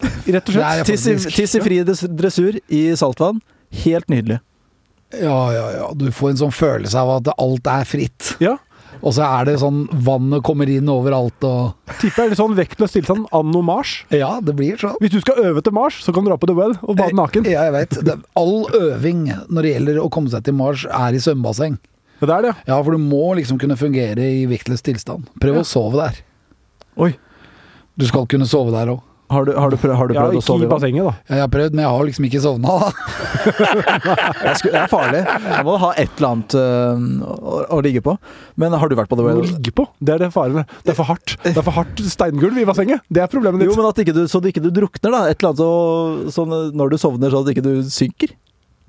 D: Rett og
F: Det
D: slett.
F: er
C: Tiss i,
F: faktisk-
C: tiss i fri dress- dressur i saltvann. Helt nydelig.
F: Ja, ja, ja. Du får en sånn følelse av at alt er fritt.
D: Ja.
F: Og så er det sånn vannet kommer inn overalt og
D: Tipper jeg litt sånn vektløs tilstand anno Mars.
F: Ja, det blir sånn.
D: Hvis du skal øve til Mars, så kan du dra på The Well og bade naken.
F: Eh, Ja, jeg vet. Det, all øving når det gjelder å komme seg til Mars, er i svømmebasseng.
D: Ja, Det er det, ja.
F: Ja, for du må liksom kunne fungere i vektløs tilstand. Prøv å sove der.
D: Oi.
F: Du skal kunne sove der òg.
C: Har du, har du prøvd, har du
D: Ja,
C: prøvd å
D: ikke
C: sove
D: i altså.
C: i vann?
D: bassenget, da.
F: Jeg har prøvd, men jeg har liksom ikke sovna.
C: Jeg skulle- Det er farlig. Jeg må ha et eller annet øh, å, å ligge på. Men har du vært på The
D: Du må
C: Well?
D: ligge på. Det er det faren. Det er for hardt. Det er for hardt steingulv i bassenget. Det er problemet
C: Jo,
D: ditt.
C: men at ikke du, så du ikke du drukner, da. Et eller annet så, sånn eh, når du sovner, så at ikke du synker.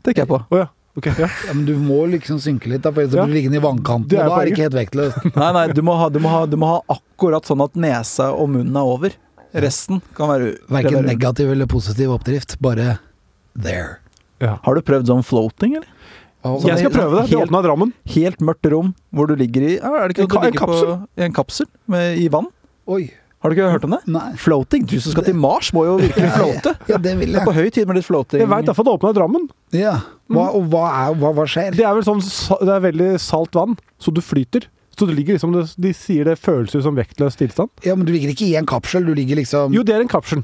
C: Tenker jeg på.
D: Å ja. Ok. Ja.
F: Ja, men du må liksom synke litt, da, for ellers
D: Ja.
F: blir du liggende i vannkanten.
D: Det er
F: Og da er det
D: poenget.
F: ikke helt vektløs.
C: Nei, nei, du må ha, du må ha, du må ha akkurat sånn at nesa og munnen er over. Resten kan være u-
F: Verken
C: leverer.
F: negativ eller positiv oppdrift. Bare there.
D: Ja.
C: Har du prøvd sånn floating, eller?
F: Og-
D: Jeg skal prøve det. Det
C: Helt-
D: åpna i Drammen.
C: Helt mørkt rom hvor du ligger i ja, Er det ikke noe
D: En ka-
C: du
D: en
C: ligger på i en kapsel med, i vann?
F: Oi.
C: Har du ikke hørt om det?
F: Nei.
C: Floating? Du som skal til Mars, må jo virkelig floate.
F: Ja, det vil
C: Det er på
F: jeg.
C: høy tid med litt floating.
D: Jeg veit iallfall det åpna i Drammen.
F: Ja. Hva, og hva, er, hva, hva skjer?
D: Det er vel sånn sa- Det er veldig salt vann, så du flyter. Så du ligger liksom det- De sier det føles ut som vektløs tilstand.
F: Ja, men Du ligger ikke i en kapsel, du ligger liksom
D: Jo, det er en kapsel.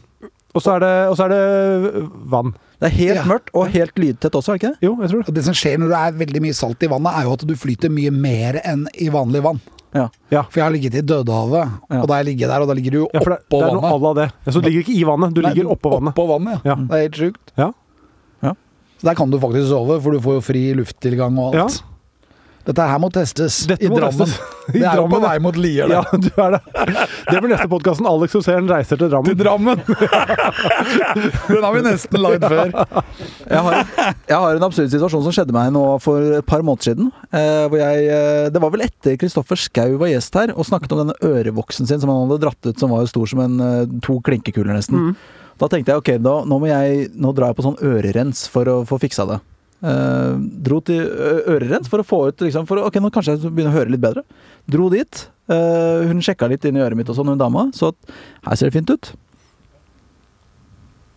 D: Og så er det, og så er det vann.
C: Det er helt
F: Ja.
C: mørkt og helt lydtett også, er det ikke det?
D: Jo, jeg tror det.
F: Og Det som skjer når det er veldig mye salt i vannet, er jo at du flyter mye mer enn i vanlig vann.
C: Ja.
D: Ja.
F: For jeg har ligget i Dødehavet,
C: Ja.
F: og da jeg ligger der, og da ligger du jo
D: Ja, for det,
F: oppå
D: det er noe à
F: vannet.
D: la det. Ja, Så du ligger ikke i vannet, du
F: Nei,
D: ligger oppå vannet.
F: Oppå Mm. vannet,
D: Ja.
F: ja. Det er helt sjukt.
D: Ja.
F: Så der kan du faktisk sove, for du får jo fri lufttilgang og
D: Ja.
F: alt. Dette her må testes
D: Dette
F: i
D: må
F: Drammen.
D: testes. I
F: Det er jo på
D: Drammen, ja.
F: vei mot Lier, det.
D: Ja, du er det. Det blir neste podkasten. Alex Rosén reiser til Drammen.
F: Til Drammen! Den har vi nesten lagd før.
C: Jeg har, jeg har en absurd situasjon som skjedde meg nå for et par måneder siden. Eh, hvor jeg, eh, det var vel etter Kristoffer Schau var gjest her og snakket om denne ørevoksen sin som han hadde dratt ut, som var jo stor som en, eh, to klinkekuler nesten. Da tenkte jeg ok, da, nå, må jeg, nå drar jeg på sånn ørerens for å få fiksa det. Eh, dro til ø- ørerens for å få ut liksom, for, å- Ok, nå kanskje jeg begynner å høre litt bedre. Dro dit. eh, hun sjekka litt inn i øret mitt og sånn, hun dama. Så at, her ser det fint ut.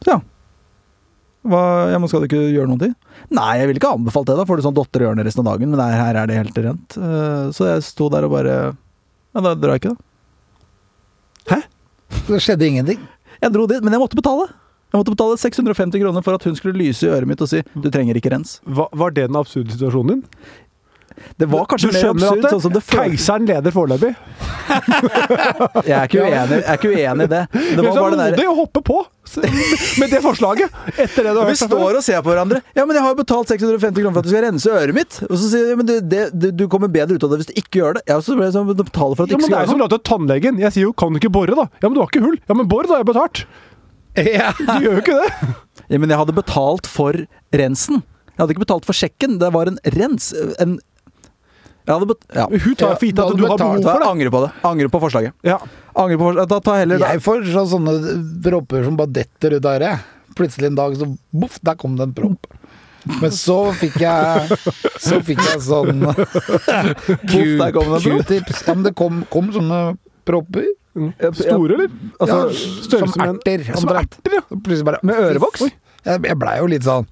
C: Så ja. Hva, ja, men skal du ikke gjøre noen ting? Nei, jeg ville ikke anbefalt det. Da får du sånn dotter i ørene resten av dagen, men nei, her er det helt rent. Eh, Så jeg sto der og bare Ja, da drar jeg ikke, da.
F: Det skjedde ingenting.
C: Jeg dro dit, men jeg måtte betale. Jeg måtte betale 650 kroner for at hun skulle lyse i øret mitt og si 'du trenger ikke rens'.
D: Hva, var det den absurde situasjonen din?
C: Det var kanskje
D: du
C: mer
D: skjønner
C: absurd.
D: at
C: Sånn som det føltes.
D: keiseren leder foreløpig.
C: Jeg er ikke uenig, jeg er ikke uenig i det. Det
D: Men
C: var
D: så
C: bare det
D: Liksom, modig
C: der
D: å hoppe på s- med det forslaget! Etter det du har
C: vi
D: hørt. fra før.
C: står og ser på hverandre. 'Ja, men jeg har jo betalt 650 kroner for at du skal rense øret mitt.' Og så sier de 'men du, det, du, du kommer bedre ut av det hvis du ikke gjør det'. Ja, så ble jeg sånn, du betaler for at du
D: Ja,
C: ikke
D: men det
C: skal
D: er jo
C: gjøre
D: som
C: det.
D: å dra til tannlegen. Jeg sier jo 'kan du ikke bore', da? Ja, men du har ikke hull. Ja, men bor, da. Jeg har betalt.
F: Ja.
D: Du gjør jo ikke det.
C: Ja, men jeg hadde betalt for rensen. Jeg hadde ikke betalt for sjekken. Det var en rens. En Jeg hadde bet... Ja.
D: Hun tar
F: Ja,
D: for gitt
F: da
D: at
F: du
D: du har
F: betaler
C: Så
D: behov for
C: jeg
D: det.
C: angrer på det. Angrer på forslaget.
D: Ja.
C: Angrer på forslaget. Da tar jeg heller
F: Jeg får sånn- sånne propper som bare detter ut av øret. Plutselig en dag så boff, der kom det en propp. Men så fikk jeg Så fikk jeg sånn
C: Boff, der kom det en propp.
F: Q-tips. Ja, men det kom, kom sånne propper.
C: Mm.
D: Store, eller?
F: Ja,
D: Altså, størrelse
F: som
D: med en-
F: erter.
D: Som
F: omtrent.
D: erter, ja.
F: Plutselig bare
C: Med ørevoks?
F: Oi. Jeg, jeg blei jo litt sånn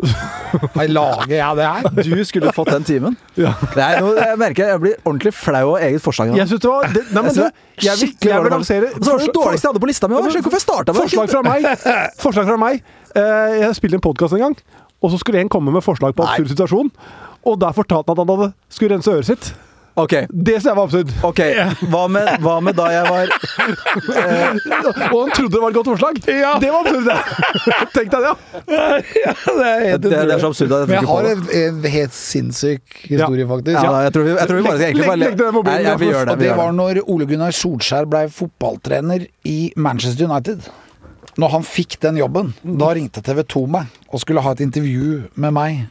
F: Hva lager jeg det her?
C: Du skulle fått den timen.
D: Ja.
C: Nei, nå jeg merker jeg blir ordentlig flau av eget forslag. nå.
D: Jeg syns det var det, Nei, men du,
C: synes det er
D: jeg vil,
C: skikkelig
D: jeg vil
C: dårlig forslag.
D: lansere
C: Og så var det det dårligste jeg hadde på lista mi. også. Jeg skjønner ikke hvorfor jeg startet med det.
D: Forslag fra meg. Forslag fra meg. Eh, Jeg spilte en podkast en gang, og så skulle en komme med forslag på absurd situasjon. Og der fortalte han at han hadde skulle rense øret sitt.
C: Ok,
D: Det synes jeg var absurd.
C: ok. Hva med, hva med da jeg var
D: Og han trodde det var et godt forslag. Det var absurd, det. Tenk deg det, ja.
F: Det er,
C: Det, det er så absurd at jeg tror
F: Men jeg
C: ikke på
F: har
C: det.
F: en, en helt sinnssyk historie, faktisk.
C: Ja, jeg tror vi, jeg tror vi bare skal egentlig bare
D: Legg- legg den mobilen,
C: Nei, jeg, vi gjør det.
F: Og
C: Vi
F: det
C: gjør
F: var
C: det.
F: når Ole Gunnar Solskjær ble fotballtrener i Manchester United. Når han fikk den jobben, da ringte TV 2 meg og skulle ha et intervju med meg.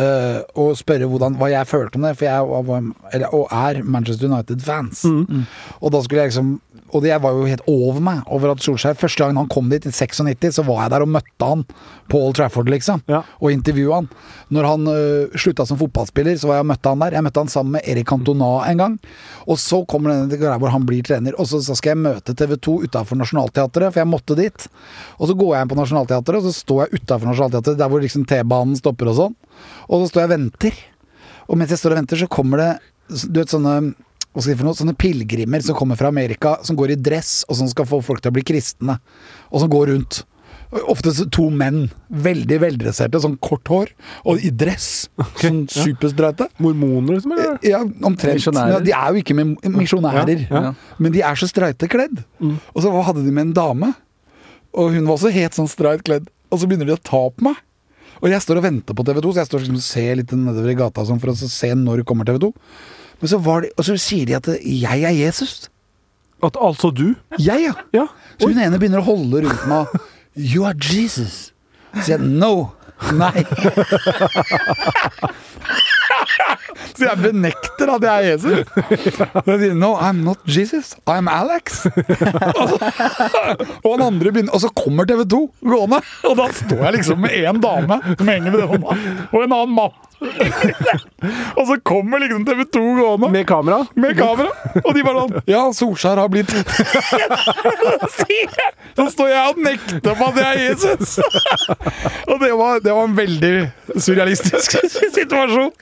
F: eh, og spørre hvordan, hva jeg følte om det, for jeg var, var- eller, og er Manchester United-fans.
C: Mm.
F: Mm. Og da skulle jeg liksom Og det- jeg var jo helt over meg over at Solskjær Første gangen han kom dit, i 96, så var jeg der og møtte han på Old Trafford, liksom
D: Ja.
F: og intervjue han. Når han øh, slutta som fotballspiller, så var jeg og møtte han der. Jeg møtte han sammen med Erik Cantona en gang. Og så kommer denne greia hvor han blir trener, og så, så skal jeg møte TV 2 utafor Nationaltheatret, for jeg måtte dit. Og så går jeg inn på Nationaltheatret, og så står jeg utafor Nationaltheatret, der hvor liksom T-banen stopper og sånn. Og så står jeg og venter. Og mens jeg står og venter, så kommer det du vet, sånne hva skal jeg si for noe? Sånne pilegrimer som kommer fra Amerika, som går i dress, og som skal få folk til å bli kristne. Og som går rundt. Ofte så- to menn. Veldig veldresserte, sånn kort hår, og i dress. sånn superstreite.
D: Mormoner, liksom? Eller?
F: Ja, omtrent.
C: Misjonærer.
F: Ja, de er jo ikke med misjonærer,
D: Ja,
C: ja. Mm.
F: men de er så streite kledd. Og så hadde de med en dame, og hun var også helt sånn streit kledd. Og så begynner de å ta på meg. Og jeg står og venter på TV 2, så jeg står liksom og ser litt nedover i gata sånn, for å se når kommer TV 2. Men så var de, og så sier de at jeg er Jesus.
D: At altså du?
F: Jeg, ja.
D: Ja.
F: Så hun ene begynner å holde rundt meg. You are Jesus. Så sier jeg no. Nei. Så jeg benekter at jeg er Jesus. Og jeg sier no, I'm not Jesus. I'm Alex. Og, så, og han andre begynner Og så kommer TV 2 gående, og da står jeg liksom med én dame som henger ved hånda, og en annen mann. Og så kommer liksom TV 2 gående med,
D: Med kamera.
F: kamera, og de bare sånn Ja, Solskjær har blitt Så står jeg og nekter på at det er Jesus! Og det var, det var en veldig surrealistisk situasjon.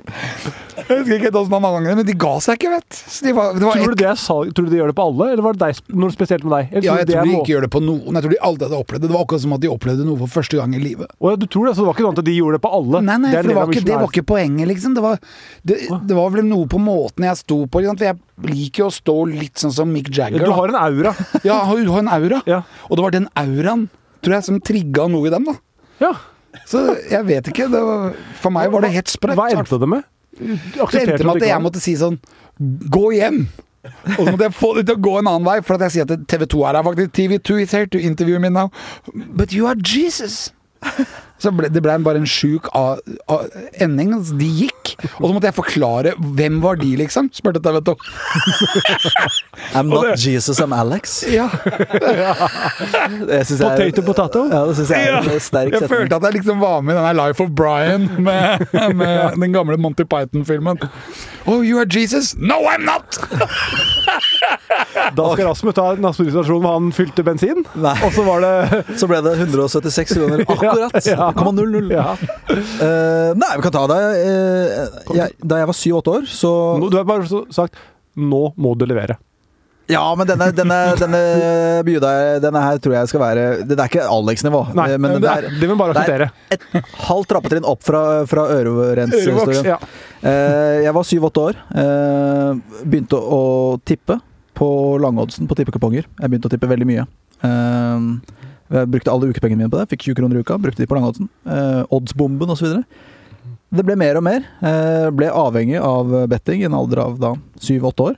F: Jeg husker ikke helt åssen han angret, men de ga seg ikke, vet du. Så de var, det var
D: Tror du, det er salg, tror du de gjør det på alle, eller var det deg, noe spesielt med deg? Eller
F: Ja, jeg
D: det er
F: tror de
D: må-
F: ikke gjør det på noen. Jeg tror de alltid hadde opplevd det. Det var akkurat som at de opplevde noe for første gang i livet.
D: Å, ja, du tror det, så det var ikke sånn at de gjorde det på alle?
F: Nei, nei,
D: Det er en
F: for det
D: del
F: var,
D: av
F: ikke, det var
D: misjonen her.
F: ikke poenget, liksom. Det var, det, det var vel noe på måten jeg sto på. ikke sant? For jeg liker jo å stå litt sånn som Mick Jagger.
D: Du
F: da.
D: har en aura.
F: Ja, han har- du har en aura.
D: Ja.
F: Og det var den auraen, tror jeg, som trigga noe i dem, da.
D: ja.
F: Så jeg vet ikke. Det var, for meg var det helt sprøtt.
D: Hva endte det med? Du
F: Det endte med at jeg måtte si sånn Gå hjem! Og så måtte jeg få dem til å gå en annen vei, for at jeg sier at TV 2 er her faktisk. TV2 is here to interview me now. But you are Jesus! Så ble, det ble bare en sjuk a- a- ending. altså, De gikk. Og så måtte jeg forklare hvem var de, liksom. Spurte TV 2.
C: I'm not Jesus, I'm Alex.
F: Ja,
C: Det synes jeg
D: Potato, potato.
C: Ja, det syns jeg er en sterk
F: jeg
C: setning.
F: følte at jeg liksom var med i denne Life of Brian med, med den gamle Monty Python-filmen. Oh, you are Jesus? No, I'm not!
D: Da skal Rasmus ta nattmeditasjonen hvor han fylte bensin.
C: Nei.
D: Og så var det
C: Så ble det 176 kroner akkurat. 0,00.
D: ja.
C: Eh, nei, vi kan ta det. Eh, jeg, da jeg var syv-åtte år, så
D: Nå- Du har bare så sagt 'nå må du levere'.
C: Ja, men denne, denne, denne bjuda Denne her tror jeg skal være Det er ikke Alex-nivå.
D: Nei,
C: eh,
D: men det, er, det vil vi bare
C: det er
D: akseptere.
C: et halvt trappetrinn opp fra, fra
D: Ørevoks,
C: ørerensehistorien.
D: ja.
C: Eh, jeg var syv-åtte år. eh, begynte å tippe på langoddsen på tippekuponger. Jeg begynte å tippe veldig mye. Eh, jeg brukte alle ukepengene mine på det. Fikk 20 kroner i uka, brukte de på langoddsen. Eh, oddsbomben osv. Det ble mer og mer. Eh, ble avhengig av betting i en alder av da syv-åtte år.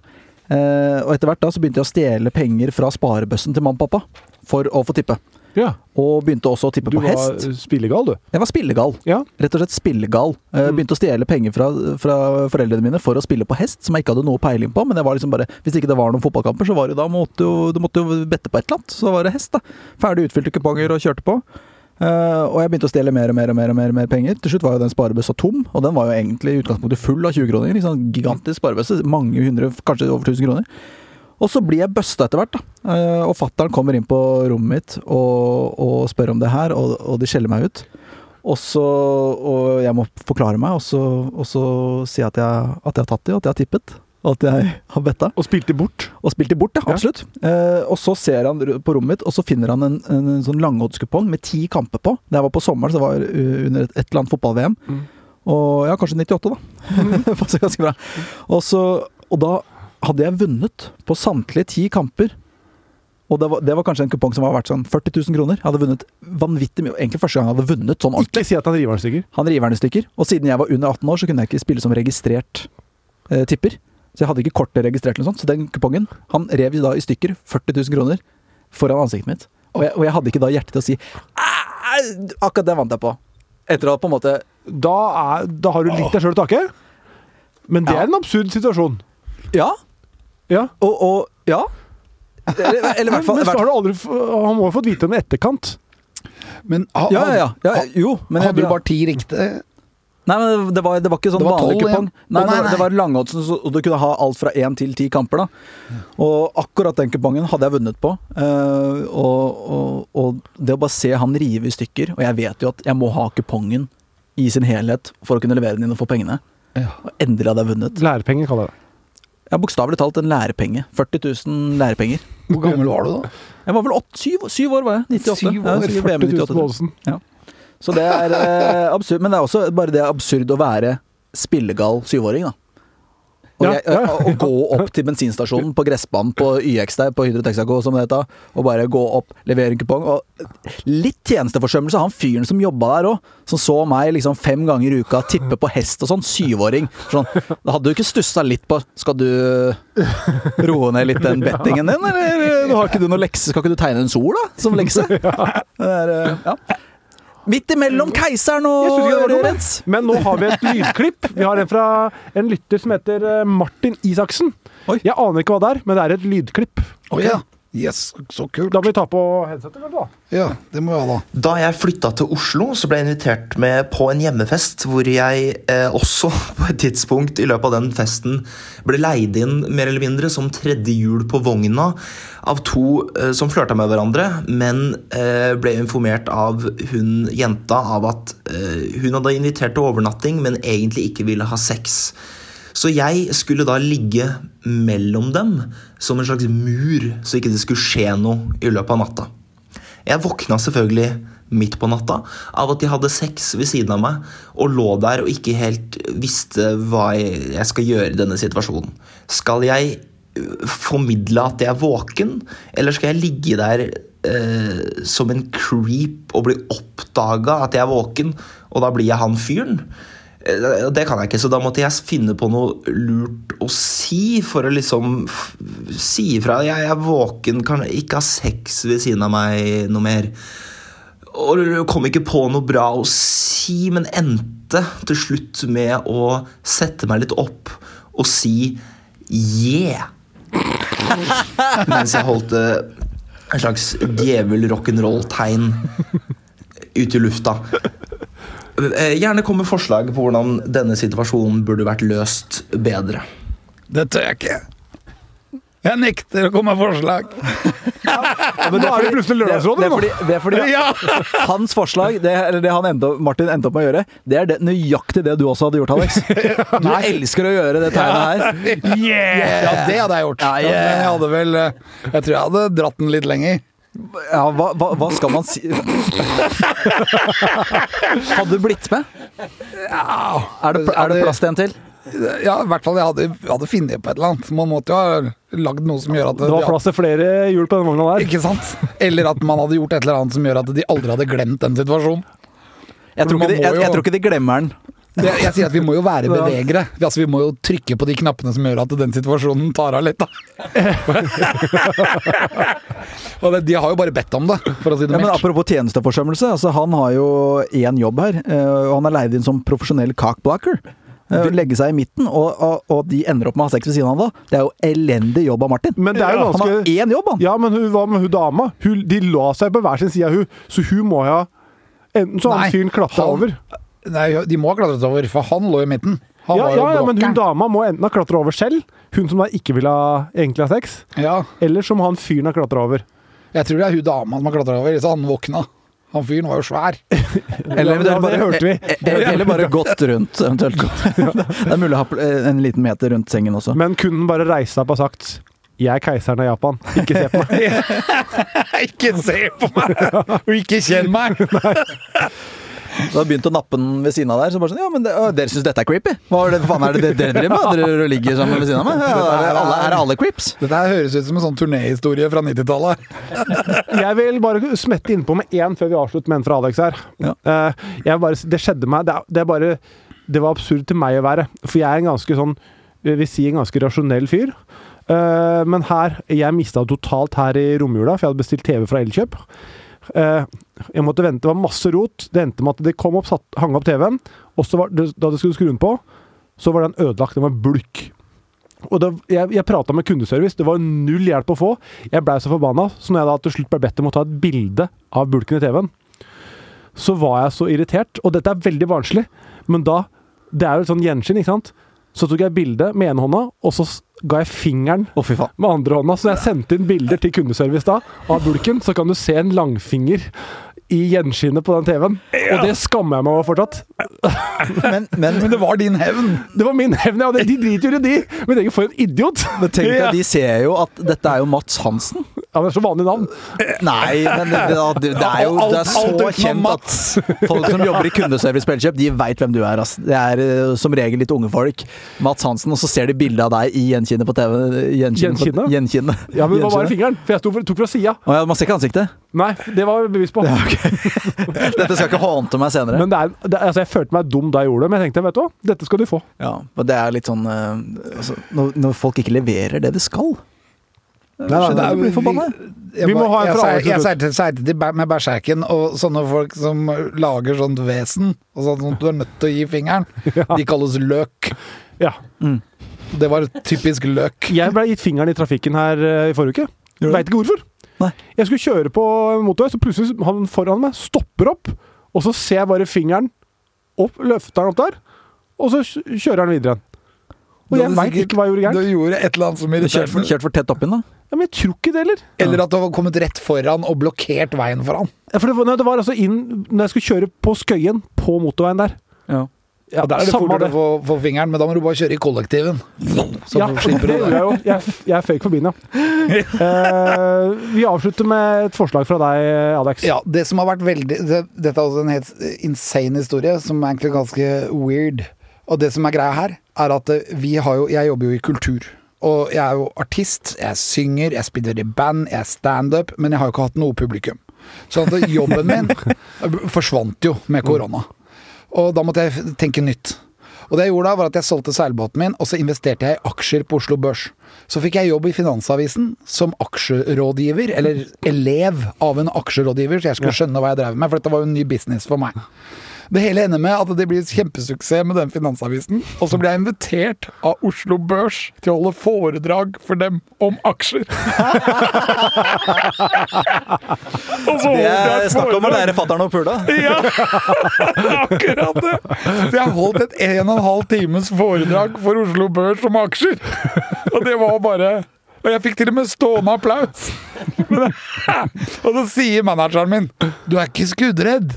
C: Eh, og etter hvert da så begynte jeg å stjele penger fra sparebøssen til mamma og pappa for å få tippe.
D: Ja.
C: Og begynte også å tippe
D: Du
C: på
D: var
C: hest.
D: spillegal, du.
C: Jeg var spillegal.
D: Ja.
C: Rett og slett spillegal. Eh,
D: Mm.
C: Begynte å stjele penger fra, fra foreldrene mine for å spille på hest, som jeg ikke hadde noe peiling på. Men jeg var liksom bare, hvis ikke det var noen fotballkamper, så var det jo da måtte jo, du måtte jo bette på et eller annet. Så var det hest, da. Ferdig utfylte kuponger og kjørte på. Eh, og jeg begynte å stjele mer og mer og mer og mer, og mer penger. Til slutt var jo den sparebøssa tom, og den var jo egentlig i utgangspunktet full av 20-kroninger. Liksom, gigantisk sparebøsse. Mange hundre, kanskje over 1000 kroner. Og så blir jeg busta etter hvert, da. Eh, og fattern kommer inn på rommet mitt og, og spør om det her, og, og de skjeller meg ut. Og så Og jeg må forklare meg, og så, og så si at jeg, at jeg har tatt de, og at jeg har tippet. Og at jeg har betta.
D: Og spilte bort.
C: Og spilte bort, ja.
D: Ja.
C: Absolutt. Eh, og så ser han ru- på rommet mitt, og så finner han en, en sånn langoddskupong med ti kamper på. Det her var på sommeren, så det var uh, under et, et eller annet fotball-VM.
D: Mm.
C: Og ja, kanskje 98, da. Det passer ganske bra. Og, så, og da hadde jeg vunnet på samtlige ti kamper. Og det var, det var kanskje en kupong som var verdt sånn 40 000 kroner. Jeg hadde vunnet vanvittig mye. Egentlig første gang jeg hadde vunnet sånn ordentlig.
D: Ikke si at han river den i stykker.
C: Han river den i stykker. Og siden jeg var under 18 år, så kunne jeg ikke spille som registrert eh, tipper. Så jeg hadde ikke kortet registrert, eller noe sånt, så den kupongen Han rev da i stykker 40 000 kroner foran ansiktet mitt. Og jeg, og jeg hadde ikke da hjerte til å si "Æ, Akkurat det vant jeg på. Etter å ha på en måte
D: Da, er, da har du litt deg sjøl å takke. Men det
C: Ja.
D: er en absurd situasjon.
C: Ja.
D: Ja.
C: Og, og ja. Eller, eller i hvert fall
D: Men så har du aldri, f- han må ha fått vite om det i etterkant.
F: Men ha,
C: Ja, ja, ja. ja jo, men jeg-
F: hadde du bare ti riktige?
C: Nei, men det var, det var ikke sånn
F: Det var
C: vanlig
F: 12 igjen.
C: kupong. Nei,
F: Å, nei,
C: det var- Det
F: nei.
C: var langoddsen, så- og du kunne ha alt fra én til ti kamper. da. Og akkurat den kupongen hadde jeg vunnet på. Eh, og, og, og det å bare se han rive i stykker Og jeg vet jo at jeg må ha kupongen i sin helhet for å kunne levere den inn og få pengene. Og endelig hadde jeg vunnet.
D: Lærepenger kaller jeg det.
C: Jeg har bokstavelig talt en lærepenge. 40 000 lærepenger.
F: Hvor gammel var du da?
C: Jeg var vel åtte, syv, syv år, var jeg. 98.
F: Syv
C: Ja,
F: år,
C: sikkert
D: 40
C: VM i
D: 000 på
C: 98.
D: Ålesund.
C: Så det er eh, absurd. Men det er også bare det er absurd å være spillegal syvåring, da. Og,
D: Ja,
C: jeg,
D: ja, ja.
C: og gå opp til bensinstasjonen på gressbanen på YX der, på Hydro Texaco som det heter, og bare gå opp, levere en kupong. Og litt tjenesteforsømmelse av han fyren som jobba der òg, som så meg liksom fem ganger i uka tippe på hest og sånn, syvåring. Sånn, da hadde du ikke stussa litt på Skal du roe ned litt den bettingen din, eller nå har ikke du noe lekse? Skal ikke du tegne en sol, da, som lekse? Det er, eh, ja. Midt imellom keiseren
D: Jeg
C: og
D: synes ikke det var dumt,
C: Rørens.
D: jeg. Men nå har vi et lydklipp. Vi har en fra en lytter som heter eh, Martin Isaksen.
C: Oi.
D: Jeg aner ikke hva det er, men det er et lydklipp.
F: Å ja. Yes, så kult.
D: Da må vi ta på headsetet, kanskje? da.
F: Ja, det må vi ha, da.
E: Da jeg flytta til Oslo, så ble jeg invitert med på en hjemmefest, hvor jeg eh, også på et tidspunkt i løpet av den festen ble leid inn mer eller mindre som tredje hjul på vogna av to eh, som flørta med hverandre, men eh, ble informert av hun jenta av at eh, hun hadde invitert til overnatting, men egentlig ikke ville ha sex. Så jeg skulle da ligge mellom dem som en slags mur, så ikke det skulle skje noe i løpet av natta. Jeg våkna selvfølgelig midt på natta av at de hadde sex ved siden av meg og lå der og ikke helt visste hva jeg jeg skal gjøre i denne situasjonen. Skal jeg øh, formidle at jeg er våken, eller skal jeg ligge der øh, som en creep og bli oppdaga at jeg er våken, og da blir jeg han fyren? Eh, Det kan jeg ikke, så da måtte jeg finne på noe lurt å si for å liksom f- si ifra. Jeg er våken, kan ikke ha sex ved siden av meg noe mer. Og jeg kom ikke på noe bra å si, men endte til slutt med å sette meg litt opp og si yeah. Mens jeg holdt eh, en slags djevel rock'n'roll-tegn ut i lufta. Eh, Gjerne kom med forslag på hvordan denne situasjonen burde vært løst bedre.
F: Det tør jeg ikke. Jeg nekter å komme med forslag.
C: Men
D: Nå er det plutselig Lørdagsrådet,
C: det, det er
D: nå.
C: fordi, det er fordi
F: Ja!
C: Hans forslag, det, eller det han endte, opp- Martin endte opp med å gjøre, det er det, nøyaktig det du også hadde gjort, Alex. Du elsker å gjøre det tegnet her.
F: Ja, det hadde jeg gjort.
C: Ja, yeah.
F: Men jeg hadde vel eh, Jeg tror jeg hadde dratt den litt lenger.
C: Ja, hva, hva, hva skal man si Hadde du blitt med? Er det, pl- er det plass til en til?
F: Ja, i hvert fall jeg hadde, hadde funnet på et eller annet. Man måtte jo ha lagd noe som gjør at
D: Det var plass til flere hjul på den vogna der.
F: Ikke sant? Eller at man hadde gjort et eller annet som gjør at de aldri hadde glemt den situasjonen.
C: Jeg tror
F: Man
C: ikke de, jeg,
F: må jo-
C: jeg tror ikke de glemmer den.
F: Det, jeg sier at vi må jo være bevegere. Vi- Altså, vi må jo trykke på de knappene som gjør at den situasjonen tar av litt, da. Og det, de har jo bare bedt om det, for å si det
C: Ja, men
F: mildt.
C: apropos tjenesteforsømmelse. Altså, han har jo én jobb her, eh, og han er leid inn som profesjonell cockblocker. Eh, Legge seg i midten, og, og, og de ender opp med å ha sex ved siden av han da. Det er jo elendig jobb av Martin.
D: Men det er jo
C: han
D: ganske-
C: har én jobb, han!
D: Ja, men hun, hva med hun dama? Hun, de la seg på hver sin side av hun, så hun må ha Enten så har han
F: Nei,
D: fyren klatra
F: han-
D: over.
F: Nei, de må ha klatret over, for han lå i midten. Han
D: Ja,
F: var jo
D: ja, ja, men hun
F: blokkeren.
D: dama må enten ha klatra over selv, hun som da ikke vil ha egentlig ha sex,
F: Ja,
D: eller så må han fyren ha klatra over.
F: jeg tror det er hun dama som har klatra over, så han våkna. Han fyren var jo svær.
C: Eller,
D: Ja, men det-
C: bare,
D: det hørte vi.
C: eh, eh, eller bare gått rundt, eventuelt. Det er mulig å ha pl- eh, en liten meter rundt sengen også.
D: Men kunne han bare reist seg opp og sagt 'Jeg er keiseren av Japan, ikke se på meg'.
F: Ikke se på meg! Og ikke kjenn meg!
C: Da begynte å nappe den ved siden av der. Så bare sånn, ja, men det, å, Dere syns dette er creepy? Hva er det, faen er det dere- dere driver med? Dere ligger sammen ved siden av meg? Ja, er, det alle, er det alle creeps?
F: Dette her høres ut som en sånn turnéhistorie fra 90-tallet.
D: Jeg vil bare smette innpå med én før vi avslutter med en fra Alex her.
C: Ja.
D: Eh, jeg bare, det skjedde meg. Det, er- det er bare Det var absurd til meg å være. For jeg er en ganske sånn Jeg vil si en ganske rasjonell fyr. Eh, men her Jeg mista det totalt her i romjula, for jeg hadde bestilt TV fra Elkjøp. Eh, jeg måtte vente, Det var masse rot. Det endte med at det kom opp, satt, hang opp TV-en, og så var det, da det skulle skru den på, så var den ødelagt. Den var bulk. Og det, jeg, jeg prata med kundeservice, det var null hjelp å få. Jeg blei så forbanna, så når jeg da til slutt ble bedt om å ta et bilde av bulken i TV-en, så var jeg så irritert. Og dette er veldig barnslig, men da Det er jo et sånn gjenskinn, ikke sant? Så tok jeg bilde med ene hånda, og så s- ga jeg fingeren
C: Å, fy faen.
D: med andre hånda. Så jeg sendte inn bilder til kundeservice da av bulken, så kan du se en langfinger i gjenskinnet på den TV-en. Og det skammer jeg meg over fortsatt.
C: Men, men,
F: Men det var din hevn!
D: Det var min hevn, ja. De driter jo i de. Men tenk, for en idiot!
C: men tenk deg, de ser jo at dette er jo Mats Hansen.
D: Han er så vanlig navn.
C: Nei, men det, det, det er jo det er så kjent at folk som jobber i kundeservice på Elkjøp, de veit hvem du er. Ass. Det er eh, som regel litt unge folk. Mats Hansen, og så ser de bilde av deg i gjenkinnet på TV. Gjenkinnet? på-
D: Gjenkinnet?
C: Gjenkinnet.
D: Ja, men det var bare
C: Gjenkinnet.
D: fingeren, for jeg sto for, tok fra sida.
C: Å ja, man ser ikke ansiktet?
D: Nei, det var jeg bevis på.
C: Dette skal ikke håndte meg senere.
D: Men det er, det, er- altså, jeg følte meg dum da jeg gjorde det, men jeg tenkte vet du hva, dette skal du få.
C: Ja, men det er litt sånn eh, altså, når, når folk ikke leverer det de skal
F: det er-
C: Du blir forbanna.
F: Jeg
D: Vi må
F: bare-
D: ha en
F: jeg
D: fra
F: sei-
D: Alex til
F: Jeg
D: slutt.
F: seilte seilte til bæ- med bæsjerken og sånne folk som lager sånt vesen, og sånt som du er nødt til å gi fingeren. De kalles løk.
D: Ja.
F: Det var typisk løk.
D: Jeg ble gitt fingeren i trafikken her eh, i forrige uke.
C: Gjorde du?
D: Veit ikke hvorfor.
C: Nei.
D: Jeg skulle kjøre på en motorvei, så plutselig han foran meg stopper opp. Og så ser jeg bare fingeren opp, løfter han opp der, og så kj- kjører han videre igjen. Og
F: Du
D: jeg
F: hadde
D: veit
F: sikkert-
D: ikke hva jeg gjorde
F: Du
D: gærent.
F: gjorde et eller annet som
C: Du kjørte
F: irriterte
C: for,
F: meg.
C: kjørt for tett opp inn, da?
D: Ja, men jeg tror ikke det heller.
F: Eller at du var kommet rett foran og blokkert veien for han.
D: Ja, For det var, nei, det var altså inn når jeg skulle kjøre på Skøyen, på motorveien der.
C: Ja.
D: Ja,
F: Der er det fortere å få, få fingeren, men da må du bare kjøre i kollektiven. Så
D: Ja,
F: slipper
D: det
F: du
D: gjorde
F: det.
D: jeg jo. Jeg, jeg føyk forbi den, ja. Eh, vi avslutter med et forslag fra deg, Alex.
F: Ja, det som har vært veldig det, Dette er også en helt insane historie, som er egentlig ganske weird. Og det som er greia her, er at eh, vi har jo Jeg jobber jo i kultur. Og jeg er jo artist, jeg synger, jeg spiller i band, jeg er standup, men jeg har jo ikke hatt noe publikum. Så at jobben min forsvant jo med korona. Og da måtte jeg f- tenke nytt. Og det jeg gjorde da, var at jeg solgte seilbåten min, og så investerte jeg i aksjer på Oslo Børs. Så fikk jeg jobb i Finansavisen som aksjerådgiver, eller elev av en aksjerådgiver, så jeg skulle skjønne hva jeg drev med, for dette var jo en ny business for meg. Det hele ender med at det blir kjempesuksess med den Finansavisen, og så blir jeg invitert av Oslo Børs til å holde foredrag for dem om aksjer. og så
C: Det er
F: holdt jeg et
C: snakk om å
F: foredrag.
C: lære fatter'n å pule.
F: Ja, akkurat det! Så jeg holdt et en og en halv times foredrag for Oslo Børs om aksjer. Og det var bare Og jeg fikk til og med stående applaus. Men- Og så sier manageren min 'Du er ikke skuddredd'.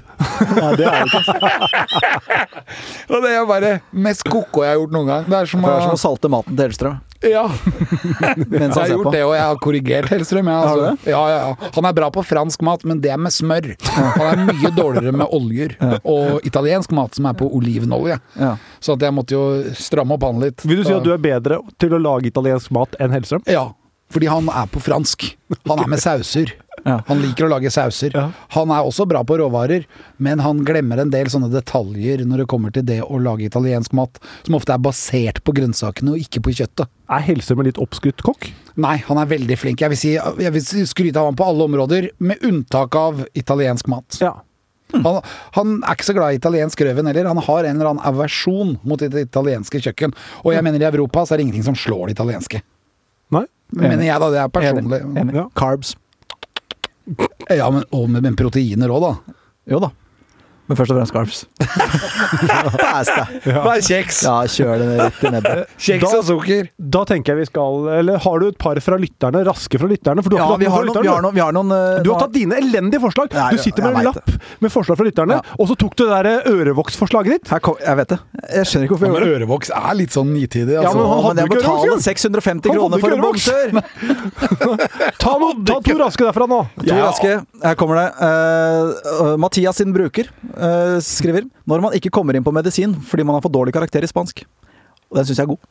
D: Nei, det er det ikke.
F: Og det er bare mest koko jeg har gjort noen gang. Det er som
C: Det er som
F: å
C: å salte maten til Hellstrøm
F: Ja.
C: mens
F: Jeg
C: han
F: har
C: ser
F: gjort
C: på.
F: det, og jeg har korrigert Hellstrøm. Jeg,
C: Har du
F: altså. ja, ja, ja. Han er bra på fransk mat, men det er med smør. Han er mye dårligere med oljer. Og italiensk mat, som er på olivenolje.
C: Ja.
F: Så at jeg måtte jo stramme opp han litt.
D: Vil du si at du er bedre til å lage italiensk mat enn Hellstrøm?
F: Ja, fordi han er på fransk. Han er med sauser.
C: Ja.
F: Han liker å lage sauser.
D: Ja.
F: Han er også bra på råvarer, men han glemmer en del sånne detaljer når det kommer til det å lage italiensk mat, som ofte er basert på grønnsakene og ikke på kjøttet.
D: Er Hellstrøm en litt oppskutt kokk?
F: Nei, han er veldig flink. Jeg vil, si, jeg vil skryte av ham på alle områder, med unntak av italiensk mat.
D: Ja.
C: Mm.
F: Han, han er ikke så glad i italiensk røven heller. Han har en eller annen aversjon mot det italienske kjøkken. Og
C: Mm.
F: jeg mener i Europa så er det ingenting som slår det italienske.
D: Nei?
F: Mener jeg, da. Det er personlig.
C: Enig.
D: Ja.
C: Carbs.
F: Ja, men, og med, med proteiner òg, da.
C: Jo da. Men først og fremst carbs. Pass deg.
F: Bare kjeks.
C: Ja, kjør den rett i nebbet.
F: Kjeks
D: Da-
F: og sukker.
D: Da tenker jeg vi skal Eller har du et par fra lytterne? Raske fra lytterne? For du har,
C: Ja,
D: ikke tatt
C: vi har noen, vi
D: noen fra
C: har
D: lytterne.
C: noen, vi har noen eh,
D: Du har
C: nå-
D: tatt dine elendige forslag!
C: Nei,
D: Du sitter med
C: jeg
D: en
C: vet
D: lapp med forslag fra lytterne,
C: Ja.
D: og så tok du det der eh, ørevoksforslaget ditt.
C: Her kom, jeg vet det. Jeg skjønner ikke hvorfor jeg gjorde det.
F: ørevoks er litt sånn nitidig,
D: Ja,
F: altså.
D: men
C: Å,
D: han
C: Men
D: hadde
C: jeg
D: jo ikke
C: betaler
D: ørevoks,
C: 650
D: Han hadde
C: kroner for
D: ikke
C: en
D: ørevoks.
C: bomsør!
D: Ta, noe- ta to raske derfra nå!
C: To raske. Her kommer det. Eh, eh, Mathias sin bruker eh, skriver når man ikke kommer inn på medisin fordi man har for dårlig karakter i spansk. Og den syns jeg er god.